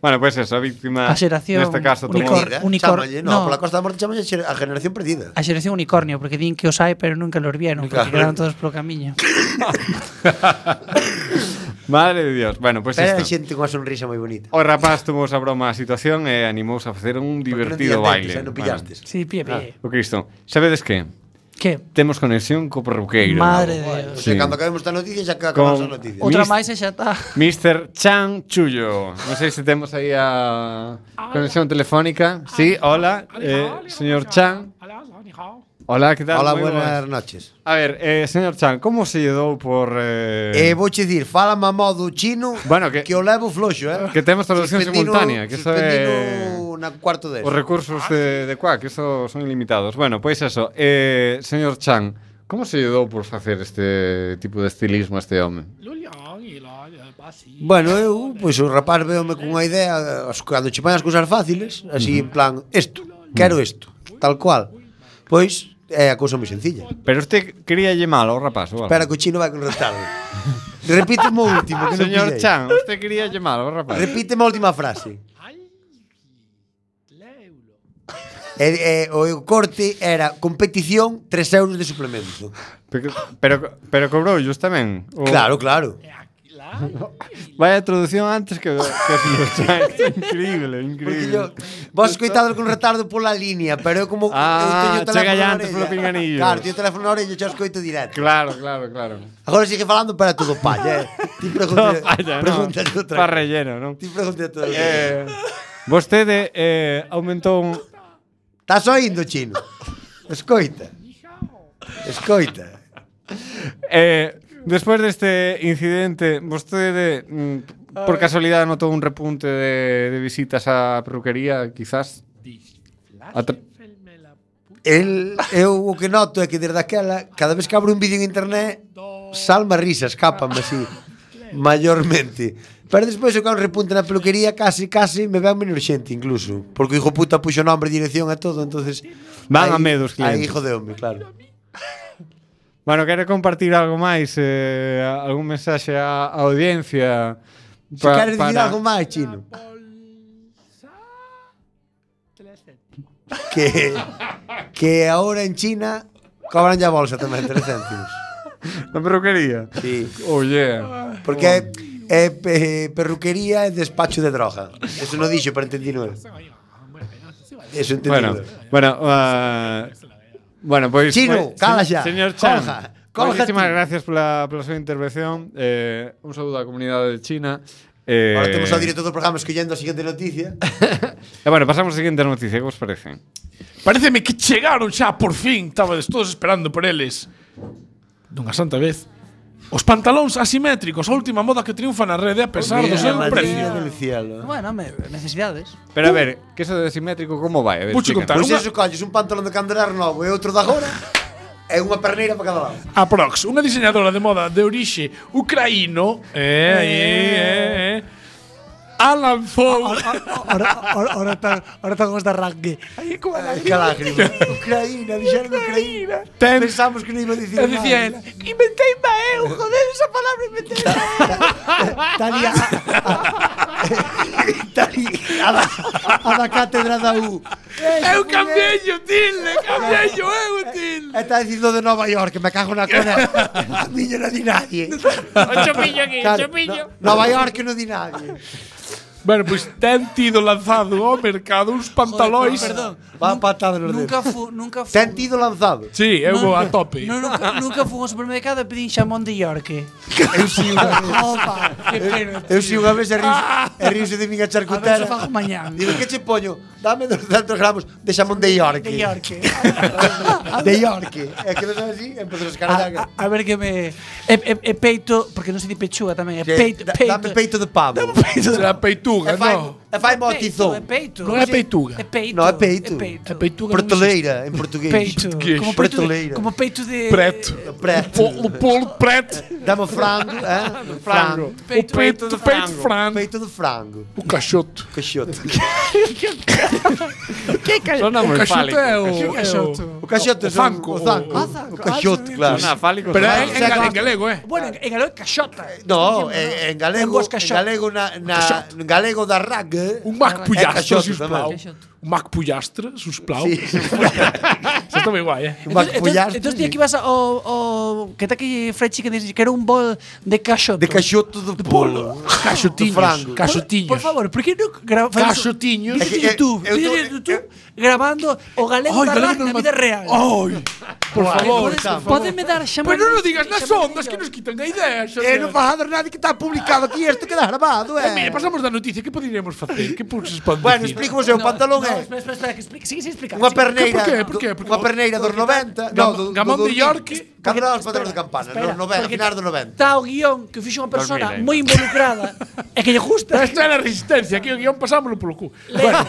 Speaker 7: 90.
Speaker 10: Bueno, pois pues eso, a víctima...
Speaker 8: A xeración
Speaker 10: Neste caso, tomou...
Speaker 8: unicor- unicor-
Speaker 7: Chámalle, no,
Speaker 8: no.
Speaker 7: pola Costa da Morte chámalle xer- a generación perdida.
Speaker 8: A xeración unicornio, porque din que os hai, pero nunca los vieron, porque
Speaker 7: Claro.
Speaker 8: quedaron todos polo camiño.
Speaker 10: (laughs) Madre de Dios. Bueno, pois pues
Speaker 7: Era
Speaker 10: isto.
Speaker 7: xente cunha sonrisa moi bonita.
Speaker 10: O rapaz tomou a broma a situación e animouse a facer un
Speaker 7: eh, non
Speaker 10: divertido
Speaker 7: tiña dentes,
Speaker 10: baile.
Speaker 7: eh, non pillastes.
Speaker 8: Sí, pie, pie.
Speaker 10: O Cristo, sabedes que?
Speaker 8: Que?
Speaker 10: Temos conexión co perruqueiro.
Speaker 8: Madre de Dios.
Speaker 7: Pois é, cando acabemos esta noticia xa que acabamos
Speaker 10: Con
Speaker 7: a noticia.
Speaker 8: Outra
Speaker 10: Mis-
Speaker 8: máis e xa está.
Speaker 10: Mr. Chan Chullo. Non sei se temos aí a conexión telefónica. Sí, hola, eh, señor Chan. Hola, que tal?
Speaker 7: Hola,
Speaker 10: Moi
Speaker 7: buenas noches.
Speaker 10: A ver, eh, señor Chan, como se lle dou por...
Speaker 7: Eh,
Speaker 10: Eh,
Speaker 7: vou che dir, fala mamó do chino
Speaker 10: bueno, que,
Speaker 7: que o levo floxo, eh?
Speaker 10: que temos traducción
Speaker 7: Suspendino-
Speaker 10: simultánea, que eso é...
Speaker 7: suspendino na cuarto de
Speaker 10: Os recursos de, de Quack, eso son ilimitados. Bueno, pois eso. Eh, señor Chan, como se lle dou por facer este tipo de estilismo a este home?
Speaker 7: Bueno, eu, pois o rapaz veome cunha idea, as cando che poñas cousas fáciles, así en plan, isto, quero
Speaker 10: Mm.
Speaker 7: isto, tal cual. Pois é a cousa moi sencilla.
Speaker 10: Pero usted quería lle mal ao rapaz, ou algo?
Speaker 7: Espera que o chino vai con retardo. Repíteme o último, que non
Speaker 10: Señor
Speaker 7: pillei.
Speaker 10: Chan, usted quería lle mal ao rapaz.
Speaker 7: Repíteme a última frase. E, e, o corte era competición 3 euros de suplemento.
Speaker 10: Pero, pero, pero cobroullos tamén. O...
Speaker 7: Claro, claro.
Speaker 10: Vaya traducción antes que, que señor
Speaker 7: (laughs)
Speaker 10: Chan. (laughs) É increíble,
Speaker 7: Porque
Speaker 10: increíble.
Speaker 7: yo, vos coitado con retardo pola línea, pero eu como
Speaker 10: Ah,
Speaker 7: eu teño o teléfono
Speaker 10: chega
Speaker 7: na
Speaker 10: antes
Speaker 7: orella.
Speaker 10: polo pinganillo.
Speaker 7: Claro, teño o teléfono na orella, xa escoito directo.
Speaker 10: Claro, claro, claro.
Speaker 7: Agora sigue falando para todo palla, eh. Ti
Speaker 10: (laughs)
Speaker 7: pregunta,
Speaker 10: Todo palla, non.
Speaker 7: pregunta outra.
Speaker 10: Pa relleno, non?
Speaker 7: Ti pregunta outra.
Speaker 10: Eh, vostede eh, aumentou un...
Speaker 7: Estás oindo, chino? Escoita. Escoita.
Speaker 10: Eh, despois deste incidente, vostede mm, por casualidade notou un repunte de, de visitas á perruquería, quizás? A tra-
Speaker 7: El, eu o que noto é que desde aquela, cada vez que abro un vídeo en internet, salma risa, escapan así, maiormente. Pero despois eu cando repunte na peluquería, casi, casi, me veo menor xente incluso. Porque o hijo puta puxo nombre, dirección e todo, entonces
Speaker 10: Van
Speaker 7: aí-
Speaker 10: a medo os
Speaker 7: Aí
Speaker 10: clientes.
Speaker 7: jodeume, claro.
Speaker 10: Bueno, quero compartir algo máis, eh, algún mensaxe á, á audiencia.
Speaker 7: Se queres dicir algo máis, chino? Que, que ahora en China cobran ya bolsa tamén, 3 céntimos.
Speaker 10: Na perruquería?
Speaker 7: Sí.
Speaker 10: Oh, yeah.
Speaker 7: Porque é, é pe- perruquería e despacho de droga. Eso non dixo, pero entendí non. Eso entendí.
Speaker 10: Bueno, bueno, ah, bueno, pois
Speaker 7: Chino,
Speaker 10: pois,
Speaker 7: cala
Speaker 10: se-
Speaker 7: xa.
Speaker 10: Señor Chan.
Speaker 7: Colga, colga
Speaker 10: Moitísimas
Speaker 7: ti.
Speaker 10: gracias pola, pola súa intervención. Eh, un saúdo á comunidade de China. Eh,
Speaker 7: Ahora temos ao director do programa escollendo a seguinte noticia.
Speaker 10: E eh, bueno, pasamos á seguinte noticia, que vos parece?
Speaker 4: Pareceme que chegaron xa por fin, estabades todos esperando por eles. Dunha santa vez. Os pantalóns asimétricos, a última moda que triunfa na rede a pesar do seu precio.
Speaker 7: del cielo.
Speaker 8: Bueno, me, necesidades.
Speaker 10: Pero
Speaker 7: Uh.
Speaker 10: a ver, que eso de simétrico como vai? A ver,
Speaker 4: Vouche contar.
Speaker 10: explica.
Speaker 7: Pois
Speaker 4: Unha-
Speaker 7: eso, colles un pantalón de candelar novo e outro de agora e unha perneira para cada lado.
Speaker 4: Aprox, unha diseñadora de moda de orixe ucraíno, eh, aí, eh, eh, a lanzou (laughs)
Speaker 8: Ahora tan, ahora tan os da rugby.
Speaker 7: Que lágrima. Ucraína, dixeron Ucraína.
Speaker 4: Ten-
Speaker 7: Pensamos que non iba a dicir
Speaker 4: Eu dicía
Speaker 7: (laughs)
Speaker 4: ela,
Speaker 8: Inventei ma eu, joder, esa palabra inventei
Speaker 7: Italia Italia a da, a da cátedra da U. (laughs)
Speaker 4: Eu cambiei o tilde, cambiei eu o tilde.
Speaker 7: Está dicindo de Nova York, me cago na cona. A miña non di nadie.
Speaker 4: Chopillo aquí,
Speaker 7: Claro, no, Nova York non di nadie.
Speaker 4: Bueno, pois ten tido lanzado ao mercado uns pantalóis.
Speaker 8: Perdón.
Speaker 7: Va patada nos
Speaker 8: Nunca
Speaker 7: dedos.
Speaker 8: fu, nunca fu.
Speaker 7: Ten tido
Speaker 8: (laughs)
Speaker 7: lanzado.
Speaker 4: Sí, eu vou a tope.
Speaker 8: No, nunca, nunca fui a un supermercado e pedín xamón de York.
Speaker 7: Eu si unha vez.
Speaker 8: Opa, que pena. Ah.
Speaker 7: Eu si unha vez e riuse, e riuse de min a
Speaker 8: A ver se
Speaker 7: charcutera.
Speaker 8: fago mañán.
Speaker 7: Digo, que che poño? Dame 200 gramos de xamón de York.
Speaker 8: De York.
Speaker 7: (laughs) De York. É que non sabes así, empezou a
Speaker 8: A,
Speaker 7: escalar.
Speaker 8: a, a ver que me... E, e, e peito, porque non se di pechuga tamén, é
Speaker 7: Que
Speaker 8: peito,
Speaker 7: da-
Speaker 8: peito.
Speaker 7: Dame peito de pavo.
Speaker 4: (laughs) Será peituga,
Speaker 7: E fai,
Speaker 4: non?
Speaker 7: e fai mo
Speaker 8: Peito,
Speaker 7: tizón.
Speaker 8: é peito.
Speaker 4: Non é peituga.
Speaker 8: É peito.
Speaker 7: Non, é peito.
Speaker 8: É peito.
Speaker 4: A peituga non
Speaker 7: Portoleira, en portugués.
Speaker 8: Peito.
Speaker 4: Português.
Speaker 8: Como peito, de,
Speaker 7: Pretoleira.
Speaker 8: como peito de...
Speaker 4: existe. Preto.
Speaker 7: Preto.
Speaker 4: O, o polo
Speaker 8: (laughs)
Speaker 4: preto.
Speaker 7: Dame o frango, eh? Frango.
Speaker 4: o peito, do peito frango.
Speaker 7: Peito de frango.
Speaker 4: O cachoto.
Speaker 7: Caixote.
Speaker 10: Sona
Speaker 4: O
Speaker 10: moi
Speaker 4: cachoto
Speaker 10: fálico.
Speaker 4: é o...
Speaker 8: Que cachote?
Speaker 7: O caixote é
Speaker 4: O zanco,
Speaker 7: O zanco.
Speaker 4: o-
Speaker 7: O caixote, claro.
Speaker 10: Sona fálico.
Speaker 4: Pero é
Speaker 10: sona-
Speaker 4: en, ga- en galego, eh?
Speaker 8: Bueno, en galego é caxota.
Speaker 7: No, en, en galego,
Speaker 8: En vos
Speaker 7: en
Speaker 8: caixote.
Speaker 7: galego na, na en galego da rag.
Speaker 4: Un mac
Speaker 7: É
Speaker 4: pullastos
Speaker 7: caixote
Speaker 4: e os
Speaker 7: tamén.
Speaker 4: plau.
Speaker 8: Caixote.
Speaker 4: un Mac Pullastre, sus plau.
Speaker 8: Sí.
Speaker 4: (laughs) Eso está muy guai, eh.
Speaker 8: Entonces, entonces, entonces ti aquí vas a, o, o Kentucky Fried Chicken dices que era un bol de cachote. De
Speaker 7: cachote de
Speaker 8: polo.
Speaker 4: Cachotiños, cachotiños.
Speaker 8: Por, por favor, por que non gra- fazemos-
Speaker 4: Cachotiños.
Speaker 8: Vídeo de
Speaker 4: É que,
Speaker 8: YouTube,
Speaker 4: eh, eu
Speaker 8: vídeo de YouTube grabando o galego
Speaker 4: Ai,
Speaker 8: da
Speaker 4: galego
Speaker 8: raza
Speaker 4: nos
Speaker 8: na vida
Speaker 4: mat-
Speaker 8: real.
Speaker 4: Ai, por
Speaker 8: Guau, podes-
Speaker 4: favor, Oh, por favor.
Speaker 8: Pódeme dar chamar.
Speaker 4: Pero non o digas nas ondas que nos quitan a idea,
Speaker 7: Eh, non vas a dar nada que está publicado aquí, isto queda grabado, eh.
Speaker 4: Eh, mira, pasamos da noticia, que poderíamos facer? Que pulses pode
Speaker 7: Bueno,
Speaker 4: dicir?
Speaker 7: explico-vos eu, o pantalón
Speaker 8: no,
Speaker 7: é
Speaker 8: Espera, espera, espera, que explica, sigue, sigue explica.
Speaker 7: unha
Speaker 8: sigue.
Speaker 7: perneira,
Speaker 8: Por qué? Por
Speaker 7: do-
Speaker 8: qué?
Speaker 7: unha perneira dos 90, no, do,
Speaker 4: Gamón de York.
Speaker 7: Cando os patrones de campana,
Speaker 8: Espera,
Speaker 7: dos 90,
Speaker 8: porque
Speaker 7: final do 90.
Speaker 8: Está o guión que fixo unha persona
Speaker 4: 2000 ainda.
Speaker 8: moi
Speaker 4: (laughs)
Speaker 8: involucrada e que lle gusta.
Speaker 4: Esta é a resistencia, aquí o guión pasámoslo polo cu. Bueno,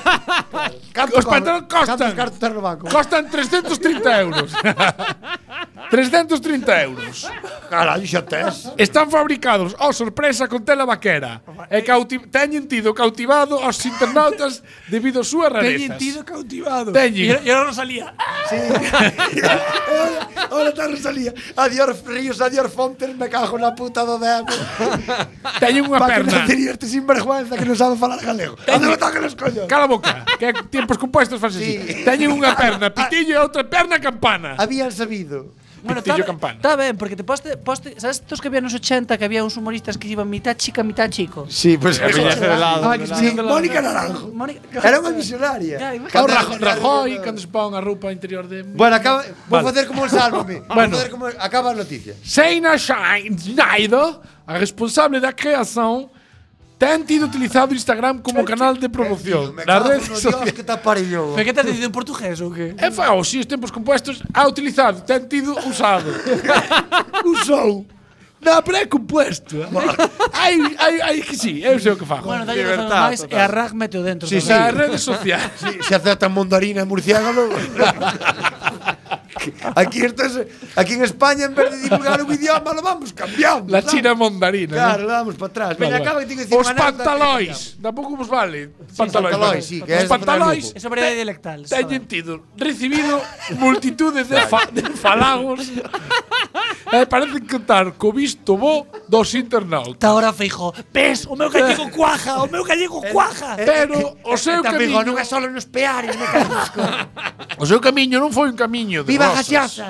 Speaker 4: os pantalóns costan,
Speaker 7: cartos ten no banco?
Speaker 4: costan 330 euros.
Speaker 7: (laughs)
Speaker 4: 330 euros.
Speaker 7: Carallo, xa tes.
Speaker 4: Están fabricados, oh sorpresa, con tela vaquera. E cauti teñen tido cautivado aos internautas debido á súa
Speaker 8: Teñen
Speaker 4: rareza.
Speaker 8: tido cautivado.
Speaker 4: Teñen.
Speaker 8: E ahora Rosalía.
Speaker 7: Ahora está Rosalía. Adiós Ríos, adiós Fontes, me cago na puta do demo.
Speaker 4: Teñen unha
Speaker 7: Pa que
Speaker 4: perna.
Speaker 7: non teño este sinvergüenza que non sabe falar galego. Ande lo toque los collos.
Speaker 4: Cala a boca, que é tiempos compuestos faz así.
Speaker 7: Sí.
Speaker 4: Teñen unha perna pitillo e outra perna campana.
Speaker 7: Habían sabido.
Speaker 8: Bueno,
Speaker 4: Pitillo
Speaker 8: está-
Speaker 4: campana.
Speaker 8: Está ben, porque te poste, poste, sabes estos que había nos 80 que había uns humoristas que iban mitad chica, mitad chico.
Speaker 7: Sí, pues
Speaker 10: Que viñese de lado.
Speaker 4: Ah, que se
Speaker 7: Sí,
Speaker 4: tiñan de lado.
Speaker 7: Mónica Naranjo.
Speaker 8: Mónica-
Speaker 7: Era unha visionaria.
Speaker 8: Ya, imagínate.
Speaker 4: Claro,
Speaker 7: Cando-
Speaker 4: Rajo- Rajoy, cando se pon a roupa interior de...
Speaker 7: Bueno, acaba, vou
Speaker 4: Vale.
Speaker 7: facer como el sálvame. Vou
Speaker 4: Bueno.
Speaker 7: facer como acaba a noticia.
Speaker 4: Seina Schein- Schneider, a responsável da creación, ten tido utilizado o Instagram como canal de promoción.
Speaker 7: Me
Speaker 4: Nas
Speaker 7: cago
Speaker 4: redes
Speaker 7: no Dios
Speaker 4: sociais.
Speaker 7: que te aparellou.
Speaker 8: Pero que te dicido en portugués ou que?
Speaker 4: E fa, "Oh, os seus tempos compuestos ha utilizado, ten tido usado. Usou. Na pré-compuesto. hai, hai, hai que sí, eu sei o que fago.
Speaker 8: Bueno, dalle razón
Speaker 10: Libertad
Speaker 8: máis e a Rag meteo dentro.
Speaker 4: Sí,
Speaker 8: tamén.
Speaker 4: nas redes sociais.
Speaker 7: Se aceptan mondarinas murciágalo. aquí, esto es, aquí en España, en vez de divulgar un idioma, lo vamos cambiando.
Speaker 4: La
Speaker 7: ¿sabes?
Speaker 4: china mandarina.
Speaker 7: Claro, lo vamos para atrás. Venga, acaba que tengo que decir
Speaker 4: Os
Speaker 7: una anécdota
Speaker 4: pantalóis. Tampouco vos vale. Pantalóis.
Speaker 7: pantalóis, sí, que
Speaker 4: Os
Speaker 7: es para
Speaker 4: pantalóis.
Speaker 7: grupo.
Speaker 8: É sobre a dialectal. está
Speaker 4: Teñen
Speaker 8: ben.
Speaker 4: tido recibido multitudes de, fa, de falagos Eh, e parecen cantar co visto bo dos internautas.
Speaker 8: Está ahora feijo. Ves,
Speaker 7: (laughs)
Speaker 8: o meu gallego cuaja, o meu gallego cuaja.
Speaker 7: Eh,
Speaker 4: Pero o seu
Speaker 7: que- que- que-
Speaker 4: camiño
Speaker 7: non é solo nos peares, me cago.
Speaker 4: o seu camiño non foi un camiño de
Speaker 7: Viva a
Speaker 4: rosas.
Speaker 7: gaseosa.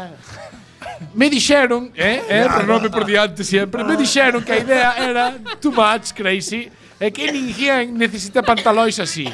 Speaker 4: Me dixeron, eh, eh, pronome por diante sempre, me dixeron que a idea era too much crazy e que ninguén necesita pantalóis así.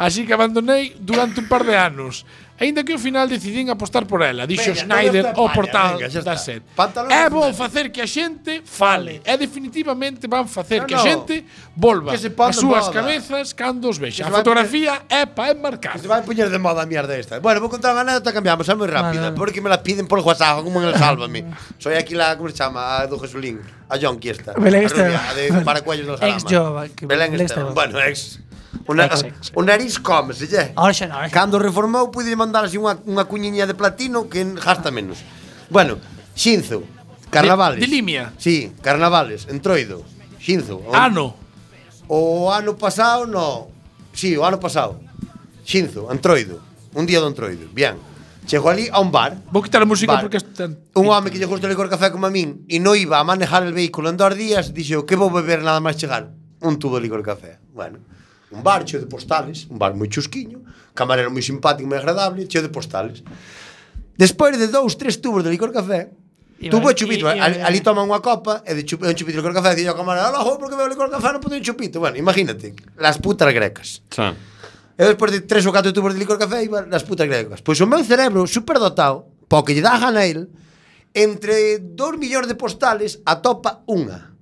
Speaker 4: Así que abandonei durante un par de anos. Ainda que ao final decidín apostar por ela, dixo
Speaker 7: Venga,
Speaker 4: Schneider
Speaker 7: todo está
Speaker 4: ao
Speaker 7: paña,
Speaker 4: portal
Speaker 7: venga, xa
Speaker 4: da
Speaker 7: está.
Speaker 4: SER.
Speaker 7: Pantalóns
Speaker 4: É
Speaker 7: de
Speaker 4: vou
Speaker 7: Schneider.
Speaker 4: facer que a xente fale. E definitivamente van
Speaker 7: No,
Speaker 4: facer que a
Speaker 7: no.
Speaker 4: xente volva
Speaker 7: Que se pon
Speaker 4: as
Speaker 7: de
Speaker 4: súas
Speaker 7: moda.
Speaker 4: cabezas cando os
Speaker 7: Que
Speaker 4: vexa. A
Speaker 7: se vai
Speaker 4: fotografía é pa enmarcar.
Speaker 7: Se va a poñer de moda a mierda esta. Bueno, vou contar unha anécdota, cambiamos, é moi rápida,
Speaker 8: Vale, vale.
Speaker 7: porque me la piden por WhatsApp, como en el Sálvame. Soy aquí la, como se chama, a do Jesulín, a Jonqui esta. a
Speaker 8: Belén Esteban.
Speaker 7: rubia, a de
Speaker 8: Vale.
Speaker 7: Paracuellos del Jarama.
Speaker 8: Ex Jova, que
Speaker 7: Belén
Speaker 8: Belén
Speaker 7: Esteban.
Speaker 8: Esteban.
Speaker 7: Bueno, ex. Una,
Speaker 8: Ex, ex.
Speaker 7: un nariz come, se lle.
Speaker 8: Ahora xa non. ahora xa non.
Speaker 7: Cando reformou, pude mandar así unha, unha cuñiña de platino que gasta menos. Bueno, Xinzo, carnavales.
Speaker 4: De- de Limia.
Speaker 7: Sí, carnavales, entroido. Xinzo. o-
Speaker 8: Ah,
Speaker 4: Ano.
Speaker 7: O ano pasado, no. Sí, o ano pasado. Xinzo, Antroido. Un día do Antroido. Bien. Chego ali a un bar.
Speaker 4: Vou quitar a música
Speaker 7: Vale.
Speaker 4: porque isto ten-
Speaker 7: Un home que lle gusta o licor café como a min e non iba a manejar el vehículo en dos días, dixo, que vou beber nada máis chegar? Un tubo de licor café. Bueno, un bar cheo de postales, un bar moi chusquiño, camarero moi simpático, moi agradable, cheo de postales. Despois de dous, tres tubos de licor café,
Speaker 8: Iba-
Speaker 7: tubo e chupito.
Speaker 8: i- iba-
Speaker 7: ali, ali toman unha copa e de chup, un chupito de licor café, e dixo, camarero, ala, jo, porque bebo licor café, non puto un chupito. Bueno, imagínate, las putas grecas.
Speaker 10: Xa.
Speaker 7: E despois de tres ou catro tubos de licor café iba nas putas gregas. Pois o meu cerebro superdotado, pao que lle dá a gana a el, entre dos millóns de postales atopa unha.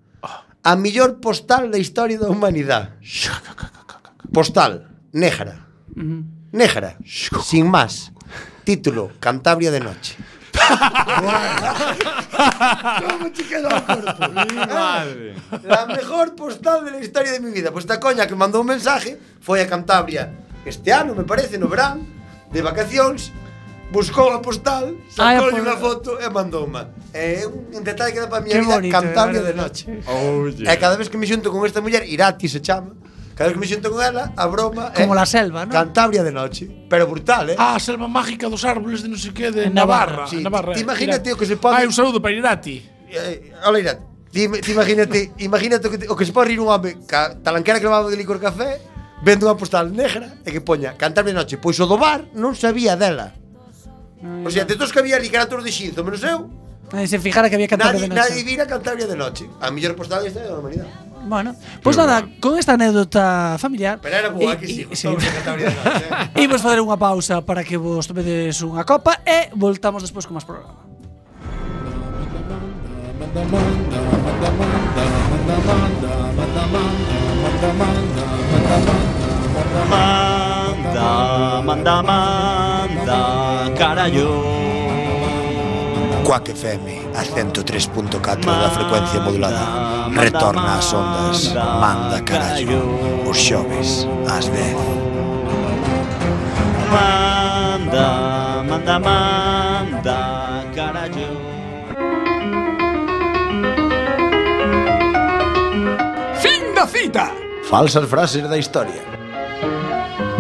Speaker 7: A millor postal da historia da humanidade. Postal, Néjara. Néjara, sin máis. Título, Cantabria de noche. Como che queda o corpo?
Speaker 10: Madre.
Speaker 7: La mejor postal de la historia de mi vida. Pues esta coña que mandó un mensaje foi a Cantabria este ano, me parece, no verán, de vacacións, buscou a postal, sacou
Speaker 8: Ai, a
Speaker 7: unha
Speaker 8: por-
Speaker 7: foto e mandou unha. É un un detalle que dá para a miña
Speaker 8: Qué
Speaker 7: vida
Speaker 8: bonito,
Speaker 7: Cantabria
Speaker 8: de
Speaker 7: de
Speaker 8: verdad.
Speaker 7: noche.
Speaker 10: Oye.
Speaker 7: E cada vez que me xunto con esta muller, Irati se chama, cada vez que me xunto con ela, a broma é
Speaker 8: Como la selva, ¿no?
Speaker 7: Cantabria de noche, pero brutal, eh?
Speaker 4: Ah, a selva mágica dos árboles de non sei que
Speaker 8: En
Speaker 4: de
Speaker 8: Navarra.
Speaker 4: Navarra.
Speaker 7: Sí,
Speaker 4: Navarra.
Speaker 7: te imagínate
Speaker 4: Irati.
Speaker 7: o que se pode-
Speaker 4: Ai, un saúdo para Irati.
Speaker 7: Eh, Ola, Irati, ti, ti imagínate, imagínate o que, te, o que se pode rir un home ca, talanquera que levaba de licor café vendo unha postal negra e que poña Cantarme de noche, pois o do bar non sabía dela.
Speaker 8: Mm.
Speaker 7: O sea, de todos que había literatura de Xinzo, menos eu,
Speaker 8: Nadie se fijara que había cantado
Speaker 7: nadie,
Speaker 8: de noche.
Speaker 7: nadie vira Cantabria de noche. A mellor postal da historia da humanidade.
Speaker 8: Bueno, pues nada, con esta anécdota familiar
Speaker 7: Pero era boa que sí, gustoume
Speaker 8: (laughs)
Speaker 7: Cantabria de noche. eh.
Speaker 8: Imos fazer unha pausa para que vos tomedes unha copa e voltamos despois con máis programa.
Speaker 12: Manda, manda, manda, carallo.
Speaker 13: Quack FM, a 103.4 da frecuencia modulada. Retorna ás ondas, manda carallo. Os xoves, ás 10.
Speaker 12: Manda, manda, manda, carallo.
Speaker 5: Fin da cita.
Speaker 13: Falsas frases da historia.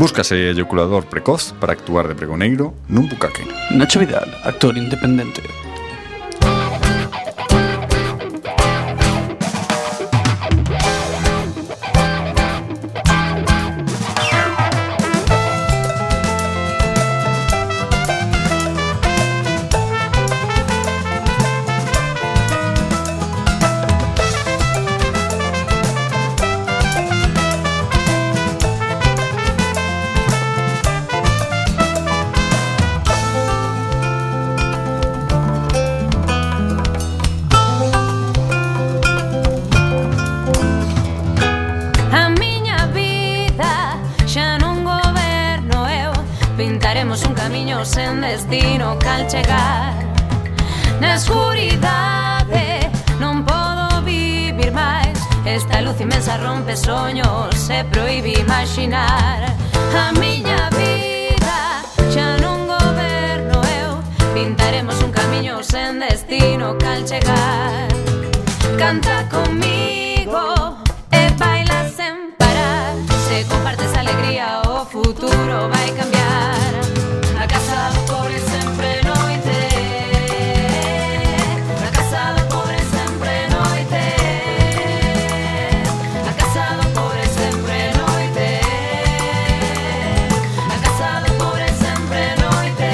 Speaker 14: Búscase eyaculador precoz para actuar de pregoneiro nun bucaque.
Speaker 2: Nacho Vidal, actor independente.
Speaker 15: A miña vida xa non goberno eu Pintaremos un camiño sen destino cal chegar Na escuridade non podo vivir máis Esta luz inmensa rompe soños e proíbe imaginar A miña vida xa non goberno eu Pintaremos un camiño sen destino cal chegar Canta comigo e baila sen parar. Se compartes alegría, o futuro vai cambiar. A casa do pobre sempre é noite. A casa do pobre sempre é noite. A casa do pobre sempre é noite. A casa do pobre sempre é noite.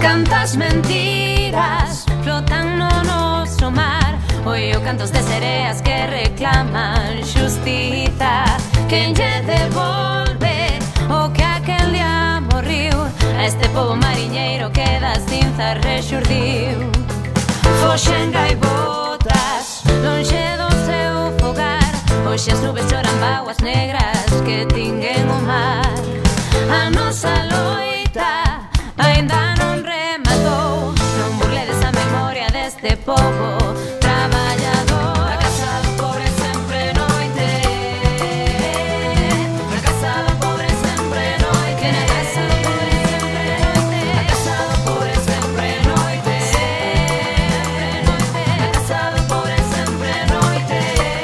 Speaker 15: Cantas mentiras flotan no noso mar Oio cantos de sereas que reclaman justiza Quen lle devolve o que aquel día morriu A este povo mariñeiro que das cinzas rexurdiu Foxen gaivotas lonxe do seu fogar Hoxe as nubes choran bauas negras que tinguen o mar A nosa loita Ainda non rematou Non burledes a memoria deste povo Traballador A casa do pobre sempre é noite A casa do pobre sempre é noite A casa do pobre sempre é noite A casa do pobre sempre é noite A casa do pobre sempre é noite este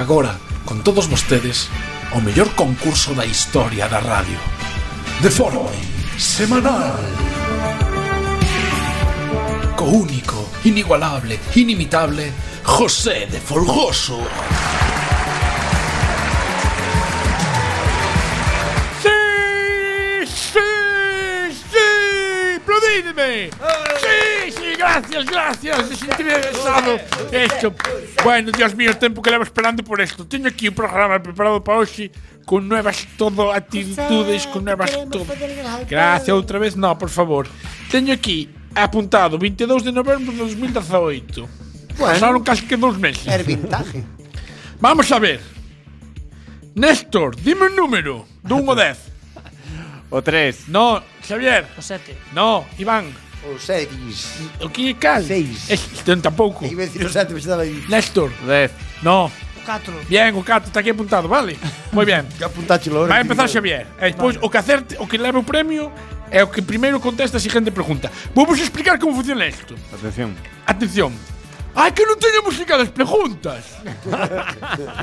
Speaker 4: agora, con todos vostedes, o mellor concurso da historia da radio. De forma semanal. Co único, inigualable, inimitable, José de Folgoso.
Speaker 12: ¡Sí! ¡Sí! ¡Sí! ¡Aplaudidme! ¡Sí! ¡Sí! ¡Gracias! ¡Gracias! Me sentí besado.
Speaker 4: Esto. Bueno, Dios mío, o tempo que levo esperando por esto. Teño aquí un programa preparado para hoxe con nuevas todo actitudes, con nuevas todo. Gracias outra vez, no, por favor. Teño aquí apuntado 22 de novembro de 2018.
Speaker 7: Bueno.
Speaker 4: Pasaron casi que dos meses.
Speaker 7: El vintaje.
Speaker 4: Vamos a ver. Néstor, dime un número. De 1 a 10.
Speaker 10: O 3.
Speaker 4: (laughs) No, Xavier.
Speaker 8: O 7.
Speaker 4: No, Iván.
Speaker 13: (laughs)
Speaker 7: O 6.
Speaker 4: O que cal? 6. Este tampouco.
Speaker 7: Iba a decir o 7, pero estaba aí.
Speaker 4: Néstor.
Speaker 10: 10.
Speaker 4: No.
Speaker 8: O 4.
Speaker 4: Bien, o Cato está aquí apuntado, vale? Moi (laughs) bien.
Speaker 7: Que apuntaste logo.
Speaker 4: Vai empezar Xavier. E despois o que acerte, o que leva o premio é o que primeiro contesta a seguinte pregunta. Vamos explicar como funciona isto.
Speaker 10: Atención.
Speaker 4: Atención. Ai, que non teño música das preguntas. (laughs)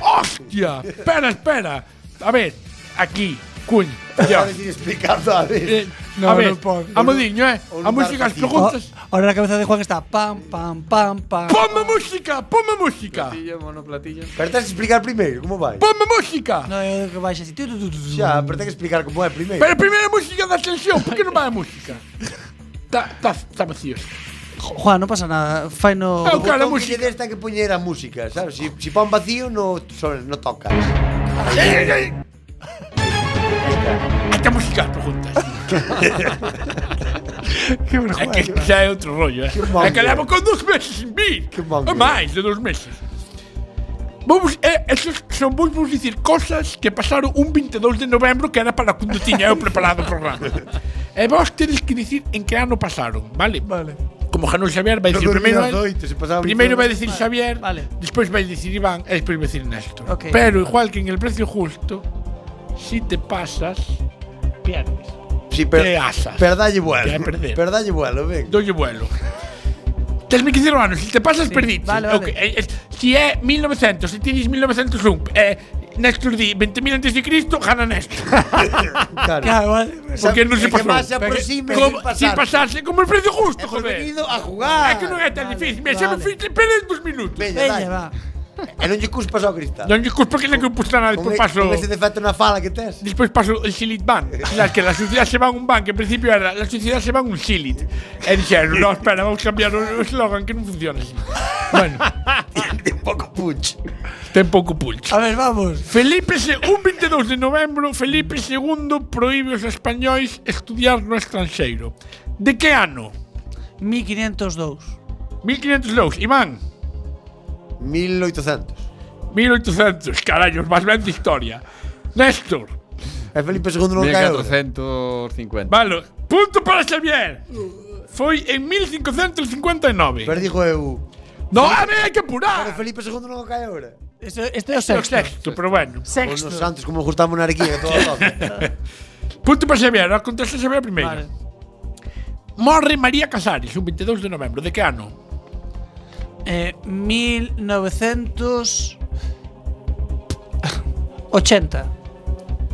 Speaker 4: Hostia. Espera, espera. A ver, aquí, cuñ. Ya.
Speaker 7: Estaba decir explicando a ver.
Speaker 4: a ver, amodiño, eh. A música das preguntas.
Speaker 8: Oh, Ahora la cabeza de Juan está pam, pam, pam, pam.
Speaker 4: Oh. Ponme música, ponme música.
Speaker 10: Platillo, monoplatillo.
Speaker 7: Pero tens que explicar primeiro como vai.
Speaker 4: Ponme música.
Speaker 8: No, eh, eu que vais así. Tu, tu, tu, tu, tu.
Speaker 7: Xa, pero tens que explicar como é primeiro.
Speaker 4: Pero primeiro a música da tensión, por que non vai a música? Está ta, ta vacío. É
Speaker 8: Jo- Juan, non pasa nada. Fai no...
Speaker 7: O botón que lle des ten que poñer a música, sabes? Si, si pon vacío, no, sobre, no toca.
Speaker 4: Esta música das preguntas. que vergonha. É que xa é outro rollo, eh.
Speaker 7: mal,
Speaker 4: É que levo con dos meses sin vir. Que
Speaker 7: mal,
Speaker 4: é máis de dos meses. Vamos, eh, esos son vos vos dicir cosas que pasaron un 22 de novembro que era para cando tiña eu preparado o programa. e vos tedes que dicir en que ano pasaron, vale? Vale. Como Janón Xavier vai
Speaker 7: Non
Speaker 4: dicir
Speaker 7: dormí
Speaker 4: primeiro
Speaker 7: nas
Speaker 4: el,
Speaker 7: oito, se pasaba
Speaker 4: primeiro
Speaker 7: mucho.
Speaker 4: vai dicir Xavier,
Speaker 8: Vale.
Speaker 4: despois vai dicir Iván e despois vai dicir Néstor.
Speaker 8: Ok.
Speaker 4: Pero igual que en el precio justo, si te pasas, pierdes.
Speaker 7: Si, pero,
Speaker 4: Te asas.
Speaker 7: pero dalle vuelo.
Speaker 4: Te vai perder.
Speaker 7: Pero dalle vuelo, ven.
Speaker 4: Dolle vuelo. Tesme que dicir o ano, se te pasas, perdiste.
Speaker 8: vale, vale.
Speaker 4: Ok, eh, eh, si é 1900, se ti dis 1901, eh, Néstor di 20.000 antes de Cristo, gana
Speaker 7: (laughs)
Speaker 4: Néstor.
Speaker 7: Claro.
Speaker 8: Claro, Ah, vale.
Speaker 4: Porque non se
Speaker 7: que
Speaker 4: pasou.
Speaker 7: máis se aproxime
Speaker 4: Porque-
Speaker 7: sin
Speaker 4: como- sin pasarse, como el precio justo, joder.
Speaker 7: Venido a jugar.
Speaker 4: É que non é tan difícil, me xa me
Speaker 8: vale.
Speaker 4: fixe pere dos minutos.
Speaker 7: Veña, dai.
Speaker 8: Veña, va.
Speaker 7: E non lle cuspas ao cristal.
Speaker 4: Non lle culpa que non que puse nada,
Speaker 7: Con
Speaker 4: despois
Speaker 7: e-
Speaker 4: paso...
Speaker 7: Con ese defecto na fala que tes.
Speaker 4: Despois paso el Silit Ban. Las que la sociedad se van un ban, que en principio era la sociedad se van un Silit. E dixeron, no, espera, vamos a cambiar o eslogan que non funciona así.
Speaker 8: (laughs)
Speaker 4: Bueno,
Speaker 7: Un pouco punch.
Speaker 4: ten pouco pulso.
Speaker 8: A ver, vamos.
Speaker 4: Felipe se un 22 de novembro, Felipe II proíbe aos españois estudiar no estranxeiro. De que ano?
Speaker 8: 1502.
Speaker 4: 1502, Iván.
Speaker 7: 1800.
Speaker 4: 1800, carallos, máis ben de historia. Néstor,
Speaker 7: E Eh, Felipe II non caeu.
Speaker 10: 1450.
Speaker 4: valo, punto para Xavier. Foi en 1559.
Speaker 7: Pero dixo eu.
Speaker 4: No, a ver, hai que
Speaker 7: Pero
Speaker 4: apurar.
Speaker 7: Eh, Felipe II non caeu ora.
Speaker 8: Este, este é o sexto. Pues
Speaker 4: Sexto, sexto, pero bueno.
Speaker 7: Os
Speaker 8: Sexto.
Speaker 7: nos santos como justa a monarquía, todo todo.
Speaker 4: Punto para Xavier, a contesta Xavier primeiro.
Speaker 8: Vale.
Speaker 4: Morre María Casares, un 22 de novembro. De que ano?
Speaker 8: Eh, 1980.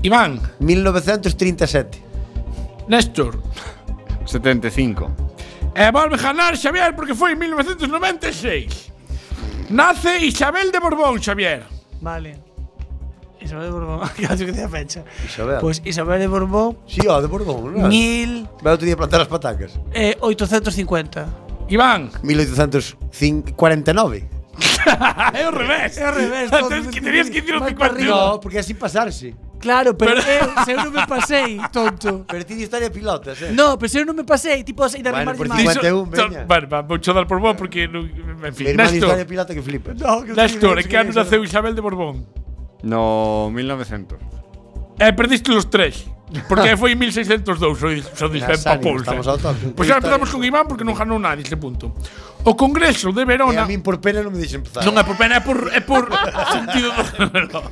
Speaker 4: Iván,
Speaker 7: 1937.
Speaker 4: Néstor.
Speaker 10: 75.
Speaker 4: E volve ganar Xavier porque foi en 1996. Nace Isabel de Borbón, Xavier.
Speaker 8: Vale. Isabel de Borbón. (laughs) Casi que te fecha.
Speaker 7: Isabel.
Speaker 8: Pues Isabel de Borbón,
Speaker 7: Si, sí, ó, de Borbón, non? Vai
Speaker 8: 1850.
Speaker 7: outro día plantar as patacas.
Speaker 8: eh,
Speaker 4: Iván.
Speaker 7: 1849.
Speaker 4: é o revés.
Speaker 8: É o revés, todo
Speaker 4: Tens que
Speaker 8: difícil.
Speaker 4: terías que dicir o
Speaker 8: Vai para
Speaker 7: No,
Speaker 8: arriba.
Speaker 4: 51.
Speaker 7: porque así pasarse.
Speaker 8: Claro, pero, eu, se eu non me pasei, tonto.
Speaker 7: Pero ti de historia de pilotas, eh?
Speaker 8: No, pero se eu non me pasei, tipo, sei de
Speaker 7: Bueno,
Speaker 8: remar
Speaker 7: por
Speaker 8: máis.
Speaker 4: Diso-
Speaker 7: 51,
Speaker 4: to-
Speaker 7: veña.
Speaker 4: Vale, va, vou cho dar por boa porque... non- En fin,
Speaker 7: Pero máis de historia de
Speaker 4: Néstor.
Speaker 7: pilota que flipas.
Speaker 8: No, que
Speaker 4: Néstor, en
Speaker 8: sí,
Speaker 4: que
Speaker 8: sí,
Speaker 4: ano naceu Isabel de Borbón?
Speaker 10: No, 1900.
Speaker 4: E perdiste los tres. Porque foi en 1602, so, so dicen
Speaker 7: Xa,
Speaker 4: pa
Speaker 7: ánimo,
Speaker 4: pousa.
Speaker 7: estamos ao toque.
Speaker 4: Pois xa Pues empezamos
Speaker 7: Eh,
Speaker 4: con Iván porque non ganou nadie este punto. O Congreso de
Speaker 7: E Eh, a
Speaker 4: Verona...
Speaker 7: min por pena non me deixen empezar.
Speaker 4: Non é por pena, é por, é por (laughs) sentido do género.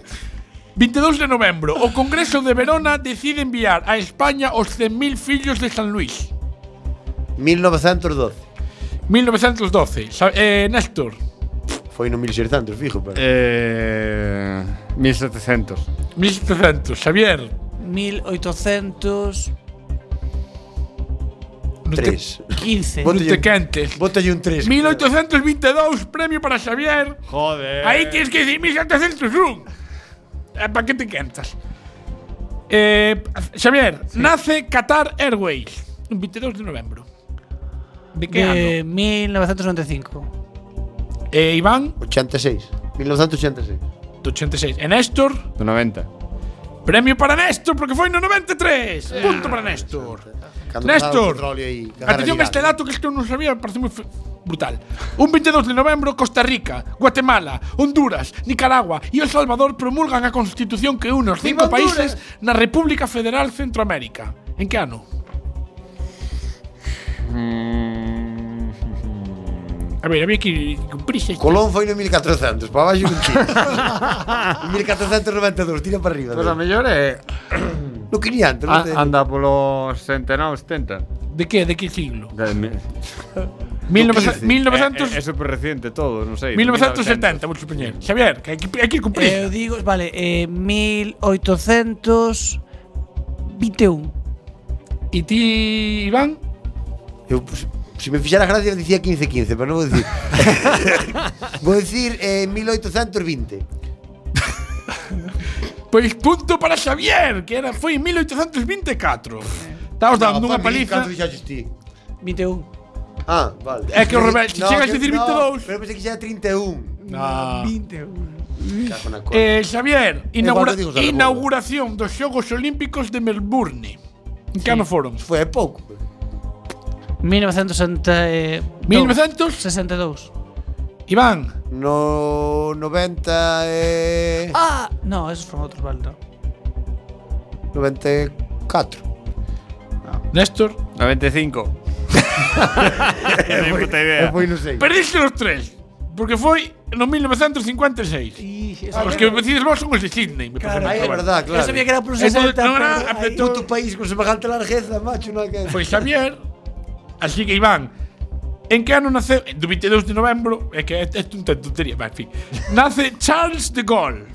Speaker 4: 22 de novembro, o Congreso de Verona decide enviar a España os 100.000 fillos de San Luis.
Speaker 7: 1912.
Speaker 4: 1912. Sa- Eh, Néstor,
Speaker 7: Foi Foi no 1600, fijo, pero...
Speaker 10: Eh, 1700.
Speaker 4: 1700, Xavier.
Speaker 8: 1800.
Speaker 7: 3.
Speaker 8: 15.
Speaker 4: Non te quentes.
Speaker 7: Bótalle un 3.
Speaker 4: 1822, premio para Xavier.
Speaker 10: Joder.
Speaker 4: Aí tienes que decir 1701. Eh, ¿Para qué te quentas? Eh, Xavier, nace Qatar Airways, un 22 de novembro. ¿De qué
Speaker 8: De
Speaker 4: ano?
Speaker 8: 1995.
Speaker 4: Eh, Iván.
Speaker 7: 86. 1986.
Speaker 4: 86. E Néstor,
Speaker 10: Do 90.
Speaker 4: premio para Néstor, porque foi no 93. Punto para Néstor.
Speaker 7: Cando
Speaker 4: Néstor,
Speaker 7: pasaba o petróleo aí, que
Speaker 4: atención
Speaker 7: agarra
Speaker 4: a este dato que isto non sabía, pareceme f- brutal. Un 22 de novembro, Costa Rica, Guatemala, Honduras, Nicaragua e El Salvador promulgan a Constitución que une os cinco países na República Federal Centroamérica. En que ano?
Speaker 10: Mm.
Speaker 4: A ver, había que cumprirse isto.
Speaker 7: Colón foi no 1400, para baixo un tiro.
Speaker 4: (laughs)
Speaker 7: 1492, tira para arriba.
Speaker 4: Pues
Speaker 10: Pois Pues a mellor é...
Speaker 7: No 500,
Speaker 4: Ah,
Speaker 7: non te...
Speaker 10: A, anda polo 69, 70.
Speaker 4: De que? De que siglo?
Speaker 10: De, mi-
Speaker 4: 1900 1900
Speaker 10: É, é, é super eh, reciente todo, non sei.
Speaker 4: 1970, vou supoñer. Xavier, que hai que, hai que ir cumprir.
Speaker 8: Eh, eu digo, vale, eh, 1821.
Speaker 4: E ti, Iván?
Speaker 7: Eu, pues, se me fixara gracia, dicía 15-15, pero non vou
Speaker 4: (laughs)
Speaker 7: dicir. vou dicir eh, 1820.
Speaker 4: Pois Pues punto para Xavier, que era foi en 1824. Estamos dando unha paliza.
Speaker 7: Canto dixaches ti?
Speaker 8: 21.
Speaker 7: Ah, vale.
Speaker 4: É que o revés, se chegas a dicir 22.
Speaker 7: No, pero pensei que xa era 31.
Speaker 4: No.
Speaker 8: 21.
Speaker 7: Cago na cola.
Speaker 4: Eh, Xavier, inaugura
Speaker 7: Igual te digo, Sara,
Speaker 4: inauguración dos Xogos Olímpicos de Melbourne. En que ano foron?
Speaker 7: Foi hai pouco.
Speaker 8: eh, 1962.
Speaker 4: Iván,
Speaker 7: No 90 e...
Speaker 8: Ah, no, esos fueron otros, vale, no.
Speaker 7: 94.
Speaker 4: Néstor,
Speaker 10: (laughs) 95. Non puta idea.
Speaker 7: Foi no 6.
Speaker 4: perdiste os tres. Porque foi no 1956. Os que decides vos son os de Sydney, me parece.
Speaker 7: Aí é
Speaker 4: moi
Speaker 7: verdad, claro.
Speaker 8: Yo sabía que era por un
Speaker 4: Eso
Speaker 8: 60.
Speaker 4: no era-
Speaker 8: pero ahí-
Speaker 7: Puto país con semejante largueza, macho, non hai que...
Speaker 4: Foi Xavier. Así que Iván, en que ano naceu? Do 22 de novembro, é que é, é unha tontería, va, en fin. Nace Charles de Gaulle.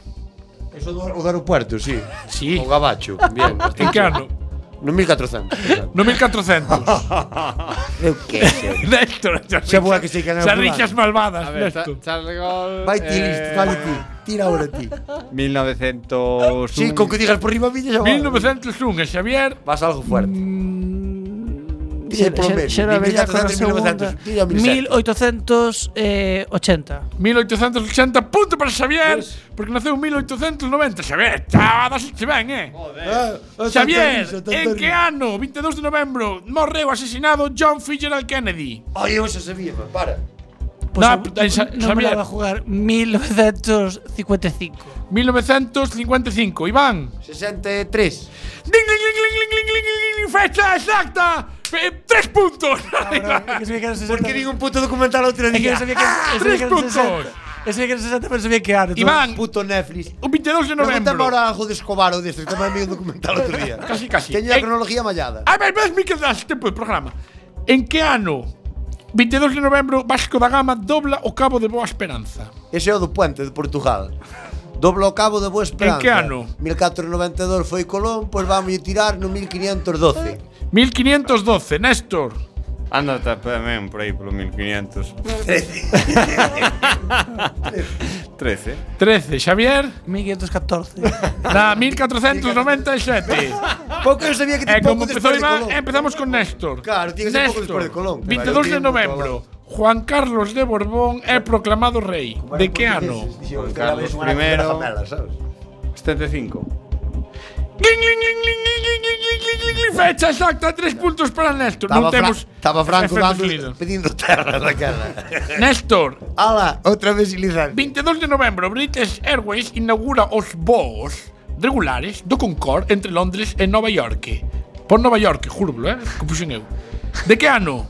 Speaker 7: Eso do, o do aeropuerto, sí.
Speaker 4: Sí.
Speaker 7: O gabacho, bien.
Speaker 4: En que ano?
Speaker 7: No 1400.
Speaker 4: No 1400.
Speaker 7: Eu que sei.
Speaker 4: Néstor, xa
Speaker 7: Xa boa que sei que
Speaker 4: xa rixas malvadas,
Speaker 10: A ver, eh,
Speaker 4: Néstor.
Speaker 10: Charles de Gaulle...
Speaker 7: Vai ti, listo, vale ti. Tira ahora ti.
Speaker 10: 1901.
Speaker 7: Sí, con que digas por riba miña xa vale.
Speaker 4: 1901, e Xavier.
Speaker 7: Vas algo fuerte. Dile por medio.
Speaker 8: Xa era bella con
Speaker 7: 1900,
Speaker 8: a segunda.
Speaker 7: dile 1700.
Speaker 8: 1880.
Speaker 4: 1880, punto para Xavier,
Speaker 10: Pues-
Speaker 4: porque naceu en 1890. Xavier, xa, se ben, eh?
Speaker 7: Ah, ah, tanto
Speaker 4: Xavier,
Speaker 7: riso, tanto
Speaker 4: en que
Speaker 7: riso.
Speaker 4: ano? 22 de novembro, morreu asesinado John Fitzgerald Kennedy.
Speaker 7: Ai, eu xa sabía, man, para.
Speaker 8: Pues
Speaker 4: Nah,
Speaker 8: no,
Speaker 4: puta, en Sa-
Speaker 8: no me la
Speaker 4: Xavier.
Speaker 8: va a jugar. 1955.
Speaker 4: 1955, e Iván.
Speaker 7: 63.
Speaker 4: ¡Ding, ding, ding, ding, ding, ding, ding, ding, ding! ¡Fecha exacta! Eh, ¡Tres puntos! (laughs)
Speaker 8: Es que sabía que era 60.
Speaker 7: Porque digo un puto documental outro
Speaker 8: Es que
Speaker 7: día.
Speaker 8: yo sabía que era- yo sabía
Speaker 4: ¡Tres
Speaker 8: que era 60.
Speaker 4: puntos!
Speaker 8: Yo sabía que era 60, pero sabía que era. entonces-
Speaker 4: ¡Ah! Iván,
Speaker 7: Puto Netflix.
Speaker 4: un 22 de
Speaker 7: Pregúntame
Speaker 4: novembro.
Speaker 7: ahora algo de Escobar ou desto, que tamén vi un documental outro día.
Speaker 4: (laughs) Casi, casi.
Speaker 7: Teño a
Speaker 4: Eh,
Speaker 7: cronología mallada.
Speaker 4: A ver, ves, Miquel, das tempo de programa. En que ano? 22 de novembro, Vasco da Gama dobla o Cabo de Boa Esperanza.
Speaker 7: Ese é o do puente de Portugal. Doblo o cabo de Boa Esperanza.
Speaker 4: En que ano?
Speaker 7: 1492 e foi Colón, pois vamos tirar no 1512.
Speaker 4: 1512, Néstor.
Speaker 10: Anda tamén por aí polo 1500. 13.
Speaker 4: 13, Xavier. (laughs)
Speaker 8: 1514.
Speaker 4: Na 1497.
Speaker 7: Pouco eu sabía (laughs) que
Speaker 4: e Eh,
Speaker 7: ti
Speaker 4: como
Speaker 7: pouco
Speaker 4: empezó
Speaker 7: despois de
Speaker 4: Iván,
Speaker 7: Colón.
Speaker 4: empezamos con Néstor.
Speaker 7: Claro, tiene que ser poco después de Colón.
Speaker 4: 22 de
Speaker 7: Claro, tiene
Speaker 4: noviembre. Juan Carlos de Borbón é proclamado rey. De que
Speaker 7: pues,
Speaker 4: ano?
Speaker 7: Dixo,
Speaker 10: Carlos
Speaker 7: "Te la ves
Speaker 10: primero".
Speaker 7: unha grazamela, sabes?
Speaker 10: 75.
Speaker 4: Gling, gling, gling, gling, gling, gling, gling, gling, gling, gling, gling. Fecha exacta, tres puntos para Néstor.
Speaker 7: Estaba
Speaker 4: Non
Speaker 7: Fra-
Speaker 4: temos
Speaker 7: Estaba Franco
Speaker 4: efectos
Speaker 7: dando,
Speaker 4: líder.
Speaker 7: pedindo terra daquela.
Speaker 4: Néstor,
Speaker 7: Ala, outra vez ilizante.
Speaker 4: 22 de novembro, British Airways inaugura os voos regulares do Concorde entre Londres e Nova York. Por Nova York, júrbolo, eh? Que puxen eu. De que ano?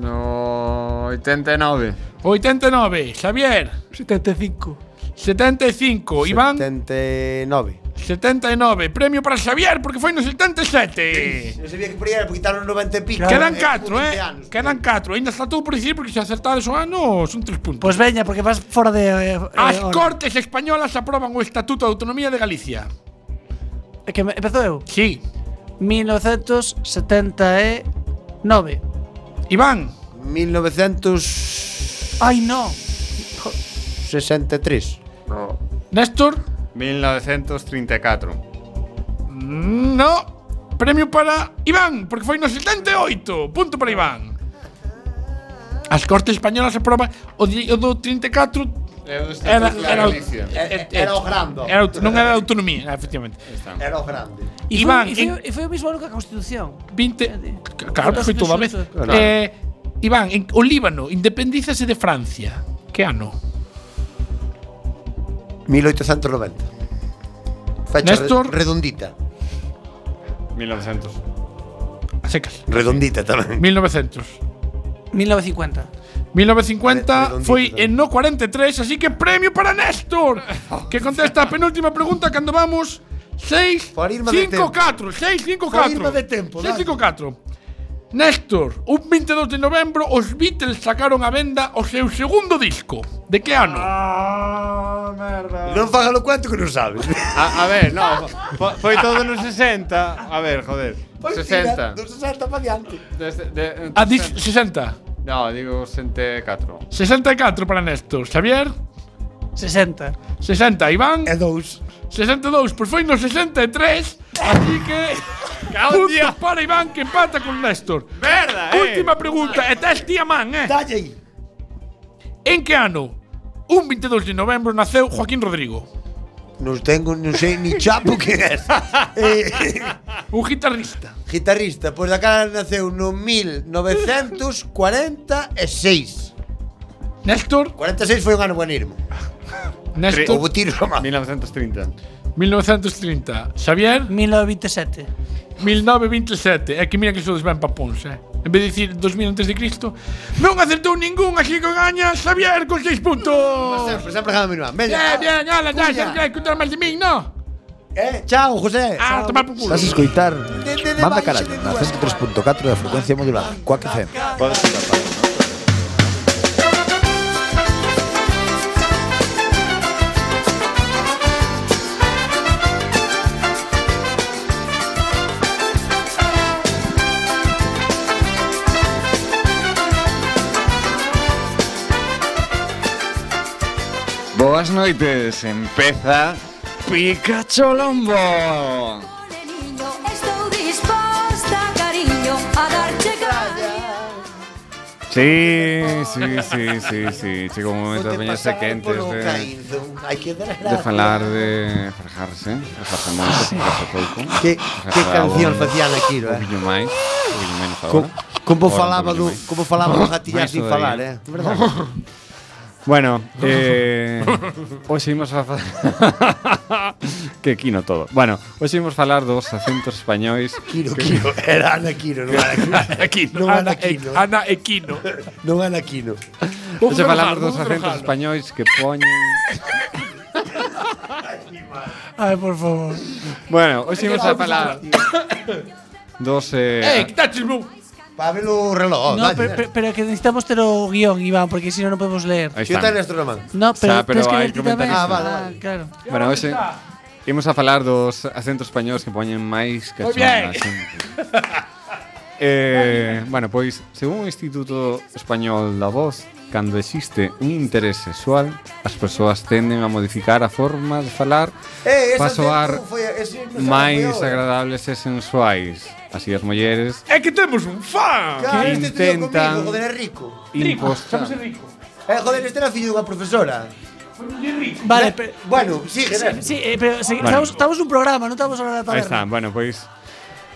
Speaker 10: No 89.
Speaker 4: 89, Xavier.
Speaker 8: 75.
Speaker 4: 75, Iván.
Speaker 7: 79.
Speaker 4: 79, premio para Xavier porque foi no 77.
Speaker 7: Non sabía que por aí era, porque quitaron 90 e pico.
Speaker 4: Quedan
Speaker 7: Eh,
Speaker 4: 4,
Speaker 7: como
Speaker 4: eh?
Speaker 7: 20 anos.
Speaker 4: Quedan 4. Ainda está todo por dicir porque se acertades o ano son 3 puntos.
Speaker 8: Pois Pues veña, porque vas fora de eh,
Speaker 4: As
Speaker 8: eh, hora.
Speaker 4: Cortes Españolas aproban o Estatuto de Autonomía de Galicia.
Speaker 8: É Eh, que me- empezou eu?
Speaker 4: Sí.
Speaker 8: 1979.
Speaker 4: Iván.
Speaker 7: 1963.
Speaker 8: Ai, no.
Speaker 10: No.
Speaker 4: Néstor.
Speaker 10: 1934.
Speaker 4: No. Premio para Iván, porque foi no 78. Punto para Iván. As Cortes Españolas aproban o, di- o do 34 era, era,
Speaker 7: Era, Eh, era o grande.
Speaker 4: Eh, era, aut- non era autonomía, efectivamente.
Speaker 7: Era o grande.
Speaker 8: E
Speaker 4: Iván,
Speaker 8: foi, e foi, e foi o mismo ano que a Constitución.
Speaker 4: 20 Claro, foi toda a vez.
Speaker 8: Claro.
Speaker 4: Eh, Iván, en, o Líbano independízase de Francia. Que ano?
Speaker 7: 1890. Fecha
Speaker 4: Néstor.
Speaker 7: re- redondita.
Speaker 10: 1900.
Speaker 4: A secas.
Speaker 7: Redondita tamén.
Speaker 4: 1900.
Speaker 8: 1950.
Speaker 4: 1950 foi en no 43, así que premio para Néstor,
Speaker 7: (laughs)
Speaker 4: que contesta a penúltima pregunta cando vamos 6
Speaker 7: irme de
Speaker 4: 5
Speaker 7: tempo.
Speaker 4: 4, 6 5
Speaker 7: Por
Speaker 4: 4.
Speaker 7: irme de tempo,
Speaker 4: 6
Speaker 7: dale.
Speaker 4: 5 4. Néstor, un 22 de novembro os Beatles sacaron a venda o seu segundo disco. De que ano?
Speaker 10: Ah, merda.
Speaker 7: Non faga lo cuento que non (laughs) sabes.
Speaker 10: A, a ver, no, fo- foi todo nos 60. A ver, joder. 60.
Speaker 7: Pues Dos 60 para diante.
Speaker 10: Desde, de,
Speaker 4: A Ah, dis- 60.
Speaker 10: No, digo 64.
Speaker 4: 64 para Néstor. Xavier?
Speaker 8: 60.
Speaker 4: 60. Iván? E 2. 62. Pois foi no 63. Así que... Punto para Iván que empata con Néstor.
Speaker 10: Merda, eh.
Speaker 4: Última pregunta. E tes día man, eh. Dalle aí. En que ano? Un 22 de novembro naceu Joaquín Rodrigo.
Speaker 7: Non tengo, non sei ni chapo que (laughs) é. eh,
Speaker 4: un guitarrista.
Speaker 7: Guitarrista, pois da cara naceu no 1946.
Speaker 4: Néstor?
Speaker 7: 46 foi un ano buenísimo.
Speaker 4: Néstor?
Speaker 7: Houve tiros a má.
Speaker 10: 1930.
Speaker 4: 1930. Xavier?
Speaker 8: 1927.
Speaker 4: 1927. É que mira que sodes ben papóns, eh. En vez de dicir 2000 antes de Cristo, non acertou ningún, así que gaña Xavier con 6 puntos.
Speaker 7: Sempre, sempre gana mi irmán.
Speaker 4: Bien,
Speaker 7: Veña.
Speaker 4: bien, ala, ya,
Speaker 7: Cuña.
Speaker 4: xa, xa, escutar máis de min, no?
Speaker 7: Eh, chao, José.
Speaker 4: Ah, tomar por culo.
Speaker 16: Estás a escoitar
Speaker 7: de
Speaker 16: Manda
Speaker 7: baixo
Speaker 16: Carallo na 103.4 da frecuencia modulada Coac FM
Speaker 10: Podes escapar.
Speaker 17: Boas noites, empeza Pikachu Lombo.
Speaker 15: Estou disposta, cariño, a darche caña
Speaker 10: Sí, sí, sí, sí, sí. Chegou un momento das veñas sequentes de,
Speaker 7: Hai que dar
Speaker 10: de falar de farjarse. Farjarse moito, farjarse pouco.
Speaker 7: Que-
Speaker 10: farjarse
Speaker 7: que
Speaker 10: a
Speaker 7: canción
Speaker 10: bordo,
Speaker 7: facían aquilo, eh?
Speaker 10: Un poquinho máis, un poquinho menos
Speaker 7: Co-
Speaker 10: agora.
Speaker 7: como
Speaker 10: Agora un
Speaker 7: falaba
Speaker 10: poquinho
Speaker 7: do-
Speaker 10: máis.
Speaker 7: como falaba
Speaker 10: (laughs)
Speaker 7: do gatillar
Speaker 10: Máis
Speaker 7: sin
Speaker 10: todavía.
Speaker 7: falar,
Speaker 10: (laughs)
Speaker 7: eh? Verdade.
Speaker 10: Bueno, eh, hoxe imos a falar... (laughs) que quino todo. Bueno, hoxe imos falar dos acentos españois.
Speaker 7: Quiro, Quiro. (laughs) Era Ana Quiro, non
Speaker 10: (laughs)
Speaker 7: Ana Quiro.
Speaker 4: Equino.
Speaker 7: Non
Speaker 4: Ana,
Speaker 7: Ana Quiro.
Speaker 4: E- Ana Equino.
Speaker 7: Non Ana Quiro.
Speaker 10: Hoxe falamos dos acentos españois que poñen...
Speaker 8: Ai, por favor.
Speaker 10: Bueno, hoxe imos a falar (laughs) dos... Eh,
Speaker 4: quitaches meu.
Speaker 7: Pa ver o reloj,
Speaker 8: No, pero, pero, pero que necesitamos ter o guión, Iván, porque si no, no podemos leer.
Speaker 10: Ahí está. Yo también
Speaker 7: estoy nomás.
Speaker 8: No, pero,
Speaker 10: Xa, pero
Speaker 8: tens que
Speaker 10: hai
Speaker 8: ler ti tamén.
Speaker 10: comentarista.
Speaker 8: Ah, vale, vale. claro.
Speaker 10: Bueno, hoxe imos a falar dos acentos españois que poñen máis
Speaker 8: Moi
Speaker 10: cachonas.
Speaker 8: bien.
Speaker 10: eh, bueno, pois, según o Instituto Español da Voz, cando existe un interés sexual, as persoas tenden a modificar a forma de falar
Speaker 7: Eh, esa
Speaker 10: para soar
Speaker 7: acento foi- ese non sabe
Speaker 10: máis
Speaker 7: foi ahora.
Speaker 10: agradables e sensuais. Así as mulleres
Speaker 4: É que temos un fan.
Speaker 7: Claro, este estudiou
Speaker 10: intentan
Speaker 7: comigo, joder, é rico.
Speaker 10: impostar...
Speaker 4: rico.
Speaker 7: Eh, joder, este era fillo dunha profesora.
Speaker 8: Vale,
Speaker 7: Na- Bueno, sí,
Speaker 8: Sí, sí, eh, pero sí,
Speaker 10: Bueno.
Speaker 8: estamos, estamos nun programa, non estamos a hablar da
Speaker 10: Ahí
Speaker 8: taberna.
Speaker 10: está, bueno, pois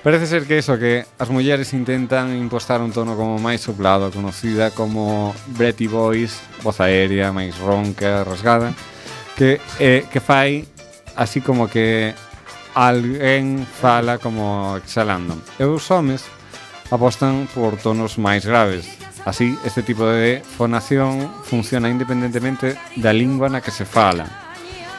Speaker 10: Parece ser que eso, que as mulleres intentan impostar un tono como máis soplado, conocida como Bretty Boys, voz aérea, máis ronca, rasgada, que, eh, que fai así como que alguén fala como exhalando. E os homes apostan por tonos máis graves. Así, este tipo de fonación funciona independentemente da lingua na que se fala.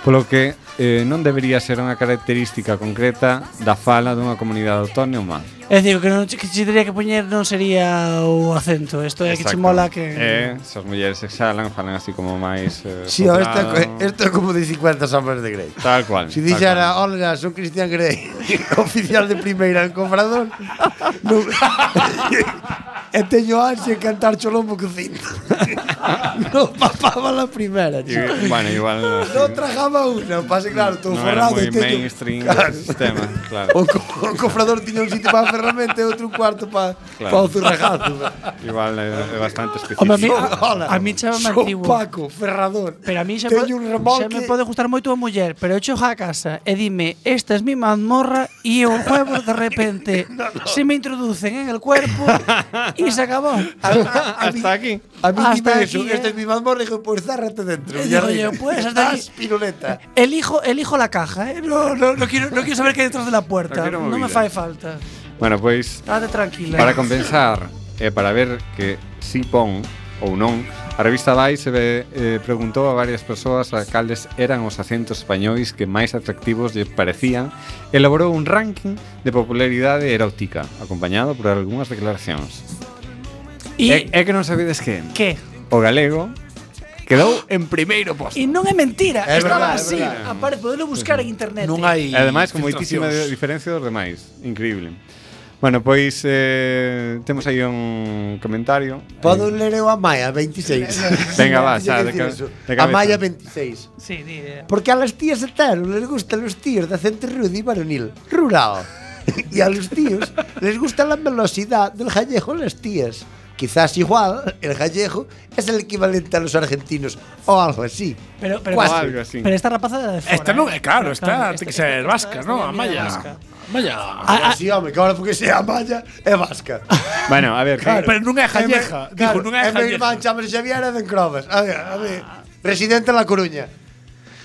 Speaker 10: polo que eh, non debería ser unha característica concreta da fala dunha comunidade autónoma.
Speaker 8: É dicir, o que, non, que se teria que poñer non sería o acento. Isto é que che
Speaker 10: Exacto.
Speaker 8: mola que...
Speaker 10: Eh, se as mulleres exhalan, falan así como máis... Eh,
Speaker 7: Sí, ahora está,
Speaker 10: soplado.
Speaker 7: esto es como de 50 sombras de Grey.
Speaker 10: Tal cual.
Speaker 7: Si
Speaker 10: tal cual.
Speaker 7: dijera, hola, soy Cristian Grey, (laughs) oficial de primeira en Comprador, no, (laughs) e teño ansia en cantar Cholombo Cocindo. (laughs) no papaba la primera, chico.
Speaker 10: Y- bueno, igual no.
Speaker 7: "Oh, No tragaba una, pase claro, todo
Speaker 10: non era
Speaker 7: forrado.
Speaker 10: moi
Speaker 7: e teño-
Speaker 10: mainstream
Speaker 7: Claro. Oh.
Speaker 10: claro. sistema, claro.
Speaker 7: O, co- o cofrador tiña un sitio para a ferramenta e outro cuarto para
Speaker 10: Claro.
Speaker 7: pa o zurragazo.
Speaker 10: Igual é, é bastante específico.
Speaker 8: Home, a mí, a, a mí chamame
Speaker 7: son
Speaker 8: antiguo.
Speaker 7: Paco, ferrador.
Speaker 8: Pero a mí xa,
Speaker 7: Teño
Speaker 8: po-
Speaker 7: un remolque.
Speaker 8: xa me pode gustar moito a muller, pero eu chego a casa e dime, esta es mi mazmorra e o jueves de repente
Speaker 10: (laughs)
Speaker 8: se me introducen en el cuerpo e se acabó.
Speaker 10: (laughs) hasta aquí.
Speaker 7: A mí
Speaker 8: Hasta
Speaker 7: dime eso,
Speaker 8: aquí,
Speaker 7: este
Speaker 8: eh.
Speaker 7: es mi mazmorra, dijo, pues zárrate dentro. Ah,
Speaker 8: Eh,
Speaker 7: ya
Speaker 8: digo yo,
Speaker 7: rico.
Speaker 8: pues, hasta aquí.
Speaker 7: Das piruleta.
Speaker 8: Elijo, elijo la caja, ¿eh? No, no, no quiero, no quiero saber qué hay detrás de la
Speaker 10: No
Speaker 8: puerta.
Speaker 10: quiero
Speaker 8: No, me
Speaker 10: movidas.
Speaker 8: fae falta.
Speaker 10: Bueno, pois
Speaker 8: Estate tranquila.
Speaker 10: Para compensar e para ver que si pon ou non, a revista Vai se ve, eh, preguntou a varias persoas a cales eran os acentos españois que máis atractivos lle parecían, elaborou un ranking de popularidade erótica, acompañado por algunhas declaracións.
Speaker 8: E-
Speaker 10: E, é que non sabedes que
Speaker 8: Que?
Speaker 10: o galego quedou en primeiro
Speaker 4: pues.
Speaker 10: posto.
Speaker 8: E non é mentira,
Speaker 10: É
Speaker 8: estaba
Speaker 10: verdad, é
Speaker 8: así.
Speaker 10: verdad.
Speaker 8: Aparte, podelo buscar en internet.
Speaker 10: E ademais con moitísima di- diferencia dos demais. Increíble. Bueno, pois eh, temos aí un comentario. Eh,
Speaker 7: Podo ler eu a Maia 26.
Speaker 10: Venga, va,
Speaker 7: Teño que
Speaker 10: xa, de
Speaker 7: decir
Speaker 10: ca-
Speaker 7: eso.
Speaker 10: de
Speaker 7: A
Speaker 10: cabeza.
Speaker 7: Maia 26.
Speaker 8: Sí, di, di.
Speaker 7: Porque a las tías de tal les gustan los tíos de acento rudo y varonil. Rural. (laughs) y a los tíos les gusta la velocidad del gallego en las tías. Quizás igual, el gallego es el equivalente a los argentinos o algo así.
Speaker 8: Pero, pero,
Speaker 7: Quasi.
Speaker 8: pero esta rapaza era de fora.
Speaker 4: Esta non é claro,
Speaker 8: Pero
Speaker 4: esta
Speaker 8: esta-
Speaker 4: ten que ser vasca, non? A Maya. Maya.
Speaker 7: Ah, sí, home, que ahora porque sea malla é vasca.
Speaker 10: Bueno, a ver,
Speaker 7: Claro. Em-
Speaker 4: Pero non é
Speaker 7: É
Speaker 4: gallega.
Speaker 7: me-
Speaker 4: Digo, non é
Speaker 7: é meu
Speaker 4: gallega.
Speaker 7: irmán, chámase Xavier e den crobas. A ver, a ver. Residente en La Coruña.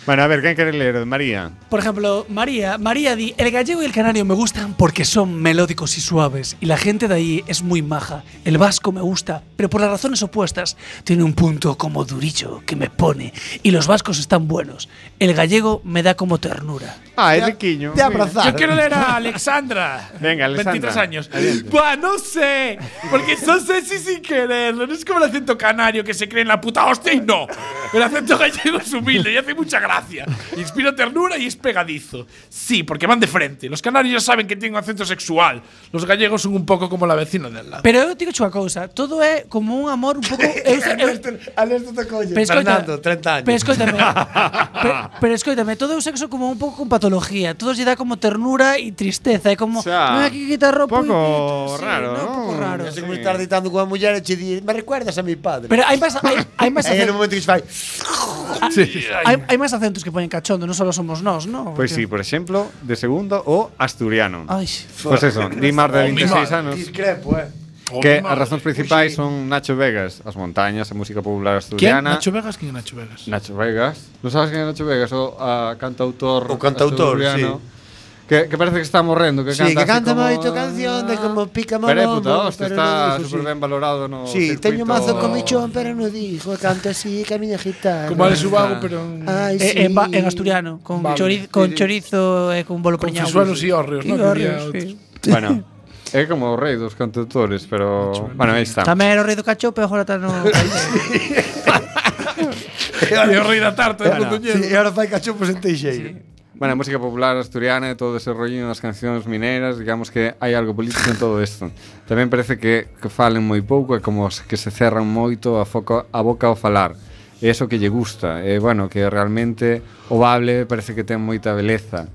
Speaker 10: Bueno, a ver, quen quere ler? María.
Speaker 8: Por ejemplo, María, María di, el gallego y el canario me gustan porque son melódicos y suaves y la gente de ahí es muy maja. El vasco me gusta, pero por las razones opuestas tiene un punto como durillo que me pone y los vascos están buenos. El gallego me da como ternura.
Speaker 10: Ah, é riquiño.
Speaker 4: Te
Speaker 10: abrazar. (laughs)
Speaker 4: Yo quiero leer a Alexandra.
Speaker 10: Venga, Alexandra.
Speaker 4: 23 años.
Speaker 10: Adelante.
Speaker 4: Buah, no sé. Porque no sé si sin querer. No es como el acento canario que se cree en la puta hostia y no. El acento gallego es humilde y hace mucha gracia. Inspira ternura y es pegadizo. Sí, porque van de frente. Los canarios saben que tienen un acento sexual. Los gallegos son un poco como la vecina del lado.
Speaker 8: Pero eu digo unha cousa, todo é como un amor un pouco eu,
Speaker 4: (laughs)
Speaker 8: eu,
Speaker 7: Alberto Tocolle.
Speaker 8: Pero escoita-
Speaker 7: Fernando, 30 años.
Speaker 8: Pero
Speaker 7: (laughs)
Speaker 8: escoítame, pero, pero escoítame, todo é o sexo como un pouco con patología, todo lle dá como ternura e tristeza, é como,
Speaker 7: sea,
Speaker 8: non hai que quitar
Speaker 7: pouco
Speaker 8: roupa. e-
Speaker 7: raro,
Speaker 8: sí, non? Un pouco raro.
Speaker 7: Es como estar ditando con una mujer e che di, me recuerdas a mi padre.
Speaker 8: Pero hai máis hai,
Speaker 7: (laughs)
Speaker 8: hai máis
Speaker 7: Aí en
Speaker 8: acentos,
Speaker 7: un momento que se fai.
Speaker 8: hai, hai máis acentos que poñen cachondo, non só somos nós, non?
Speaker 7: Pues
Speaker 10: Pois sí, por exemplo, de segundo o asturiano.
Speaker 8: Ai.
Speaker 10: Pois eso, di mar de 26 anos.
Speaker 7: Discrepo, eh.
Speaker 10: Que as razóns principais son Nacho Vegas, as montañas, a música popular
Speaker 4: ¿Quién?
Speaker 10: asturiana.
Speaker 4: ¿Nacho Vegas? ¿Quién es Nacho Vegas?
Speaker 10: Nacho Vegas. ¿No sabes quién es Nacho Vegas? O ah, cantautor.
Speaker 7: O cantautor,
Speaker 10: asturiano, Que, que parece que está morrendo. Que
Speaker 7: Sí,
Speaker 10: canta
Speaker 7: que
Speaker 10: así
Speaker 7: canta
Speaker 10: como- "Ah".
Speaker 7: moito canción de como pica
Speaker 10: Pero é puta
Speaker 7: molombo,
Speaker 10: hostia,
Speaker 7: pero
Speaker 10: está
Speaker 7: non dixo,
Speaker 10: súper ben valorado no
Speaker 7: Sí,
Speaker 10: circuito.
Speaker 7: teño mazo con michón, pero non dixo, canto así, camiña gitana.
Speaker 4: Como Alex Ubago, pero
Speaker 7: Ai, sí.
Speaker 8: Eh, en, ba- en asturiano, con,
Speaker 4: Vale.
Speaker 8: chorizo, con chorizo e con bolo
Speaker 4: Con
Speaker 8: preñado.
Speaker 4: fisuelos e hórreos,
Speaker 8: E
Speaker 4: non? Que
Speaker 8: hórreos,
Speaker 4: había
Speaker 8: sí.
Speaker 10: Bueno, é como o rei dos cantautores, pero... Bueno, aí está.
Speaker 8: Tamén era o rei do cachope, agora
Speaker 4: (laughs)
Speaker 8: está no...
Speaker 4: E o rei da tarta,
Speaker 7: Claro.
Speaker 4: de Ponteñedo.
Speaker 7: Sí, e agora fai cachopos en Teixeira.
Speaker 10: Bueno, a música popular asturiana e todo ese rollo nas cancións mineiras, digamos que hai algo político en todo isto. Tamén parece que, que falen moi pouco e como os que se cerran moito a, foco, a boca ao falar. E eso que lle gusta. E, bueno, que realmente o bable parece que ten moita beleza.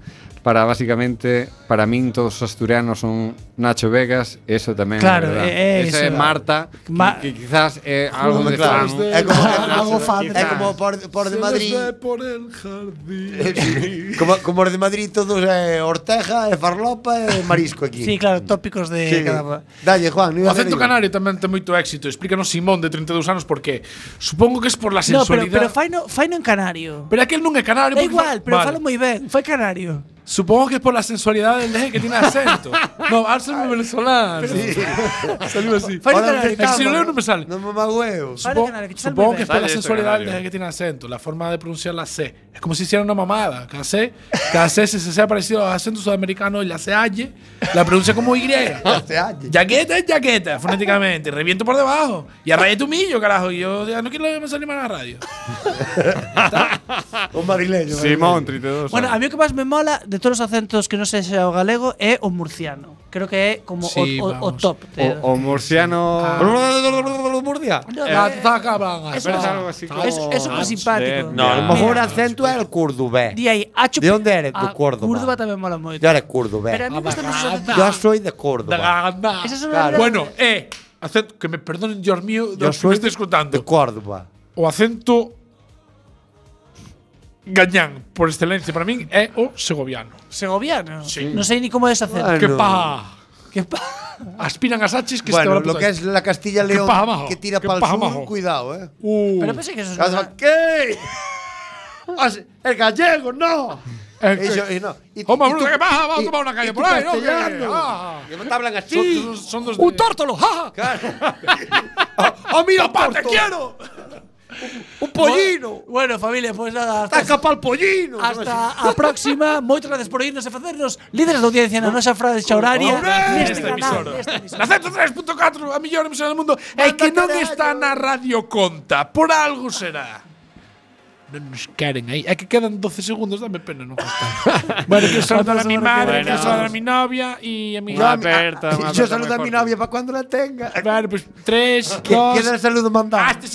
Speaker 10: Para, basicamente, para min todos os asturianos son Nacho Vegas, e eso tamén
Speaker 8: Claro,
Speaker 10: é verdad.
Speaker 8: é- é
Speaker 10: Ese
Speaker 8: iso.
Speaker 10: é Marta,
Speaker 8: Ma-
Speaker 10: que, que quizás é algo de fan.
Speaker 7: É
Speaker 8: (laughs)
Speaker 7: como
Speaker 10: (laughs) Algo fan.
Speaker 7: É como por, por de
Speaker 4: Se
Speaker 7: Madrid.
Speaker 4: nos ve por el jardín.
Speaker 10: Eh,
Speaker 7: como, como os de Madrid todos
Speaker 18: eh,
Speaker 7: é Ortega, é Farlopa e marisco aquí.
Speaker 8: Sí, claro, tópicos de
Speaker 7: Sí.
Speaker 8: cada...
Speaker 7: Dalle, Juan, non iba
Speaker 4: O
Speaker 7: a hacer
Speaker 4: acento
Speaker 7: iba.
Speaker 4: canario tamén ten moito éxito. Explícanos Simón de 32 anos por qué. Supongo que es por la
Speaker 8: No, pero,
Speaker 4: sensualidade.
Speaker 8: pero faino, faino en canario.
Speaker 4: Pero aquel non é
Speaker 8: Da
Speaker 4: canario. porque
Speaker 8: igual,
Speaker 4: fa-
Speaker 8: pero
Speaker 4: Vale.
Speaker 8: falo moi ben. Foi canario.
Speaker 4: Supongo que es por la sensualidad del deje que tiene acento. No, Arsenal es venezolano.
Speaker 5: Sí.
Speaker 4: Salió así.
Speaker 5: Falla
Speaker 4: Ahora,
Speaker 5: canario,
Speaker 4: es que si
Speaker 5: cabrón.
Speaker 4: lo leo no me sale.
Speaker 7: No me huevo.
Speaker 4: Supongo,
Speaker 5: canario, que sale
Speaker 4: supongo
Speaker 5: muy
Speaker 4: que es
Speaker 5: bien.
Speaker 4: por la
Speaker 5: Sale esto,
Speaker 4: sensualidad del
Speaker 5: canario.
Speaker 4: deje que tiene acento, la forma de pronunciar la C. Es como si hiciera una mamada. Cada C, cada C se, se sea parecido al acento sudamericano y la CH la pronuncia como Y. Jaqueta es jaqueta, fonéticamente. Reviento por debajo. Y arraye tu millo, carajo. Y yo ya no quiero verme salir más a la radio. Ah.
Speaker 7: Un madrileño.
Speaker 10: Simón, 32.
Speaker 8: Bueno, a mí o que máis me mola de todos os acentos que non sei se é o galego é o murciano. Creo que é como
Speaker 10: Sí,
Speaker 8: o, o, o
Speaker 10: vamos.
Speaker 8: top. de-
Speaker 10: O, o murciano.
Speaker 8: Ah.
Speaker 7: Murcia.
Speaker 4: Eh,
Speaker 8: la-
Speaker 10: Eso- Pero es algo así como-
Speaker 8: eso- eso eh, es simpático.
Speaker 10: No,
Speaker 7: Eh,
Speaker 18: a lo mejor acento es el cordobés.
Speaker 8: Di aí, acho
Speaker 18: ¿De dónde eres?
Speaker 8: Ah,
Speaker 18: De Córdoba.
Speaker 8: Córdoba tamén mola moito.
Speaker 18: Yo eres cordobés.
Speaker 8: Pero a mí gustan mucho os acentos.
Speaker 18: Yo soy de Córdoba.
Speaker 8: Esas son
Speaker 18: Claro.
Speaker 8: las-
Speaker 4: Bueno, eh, acento- que me perdonen, Dios mío, de
Speaker 18: Yo
Speaker 4: los que me
Speaker 18: soy
Speaker 4: estoy escuchando.
Speaker 18: de Córdoba.
Speaker 4: O acento gañán, por excelencia, para mí, é o segoviano.
Speaker 8: Segoviano?
Speaker 4: Sí.
Speaker 8: Non sei ni como é ese acento.
Speaker 4: Que paja.
Speaker 8: Que
Speaker 4: Uh. Aspiran a Sachis que
Speaker 18: Bueno,
Speaker 4: se te va la
Speaker 18: lo
Speaker 4: puta.
Speaker 18: que es la Castilla
Speaker 4: Qué
Speaker 18: León
Speaker 4: paja, majo.
Speaker 18: que tira
Speaker 4: Qué
Speaker 18: para el
Speaker 4: paja,
Speaker 18: sur,
Speaker 4: majo.
Speaker 18: cuidado, eh.
Speaker 4: Uh.
Speaker 8: Pero pensé que eso es
Speaker 18: Vas a-
Speaker 8: verdad.
Speaker 18: ¿Qué?
Speaker 4: Ah,
Speaker 18: Vas- El gallego, no.
Speaker 4: El-
Speaker 18: Eso, y no. Y-
Speaker 4: Eh, Hombre,
Speaker 18: Eh, y
Speaker 4: Bruno,
Speaker 18: tú-
Speaker 4: ¿qué pasa? Vamos a
Speaker 18: y-
Speaker 4: tomar una calle
Speaker 18: y
Speaker 4: por
Speaker 18: tú
Speaker 4: ahí, ¿no? Que-
Speaker 18: castellano.
Speaker 4: ah.
Speaker 18: Que te hablan
Speaker 4: Son
Speaker 18: así.
Speaker 4: dos- son dos
Speaker 18: ¡Un
Speaker 4: de-
Speaker 18: tórtolo! ¡Ja!
Speaker 4: ¡Oh, mira,
Speaker 18: pa,
Speaker 4: te quiero!
Speaker 18: ¡Un
Speaker 8: pollino! Bueno, familia, pues nada. Hasta
Speaker 18: escapar el pollino!
Speaker 8: Hasta (laughs) a próxima. Moitas gracias por irnos e facernos líderes da audiencia na nosa frase xa horaria. Neste
Speaker 4: Neste
Speaker 8: canal.
Speaker 4: emisora. Na 103.4, a millón emisora do mundo, é que non está na Radio Conta. Por algo será. Non nos queren aí. É que quedan 12 segundos, dame pena, non (laughs) gastar. bueno, que saludar a mi madre, que saludar a mi novia e a mi
Speaker 18: No, a mi- Yo saludo a mi novia para cuando la tenga.
Speaker 4: Vale, pues tres,
Speaker 18: ¿Qué-
Speaker 4: dos. ah, este
Speaker 18: ¿Quién es el saludo mandado?
Speaker 4: Hasta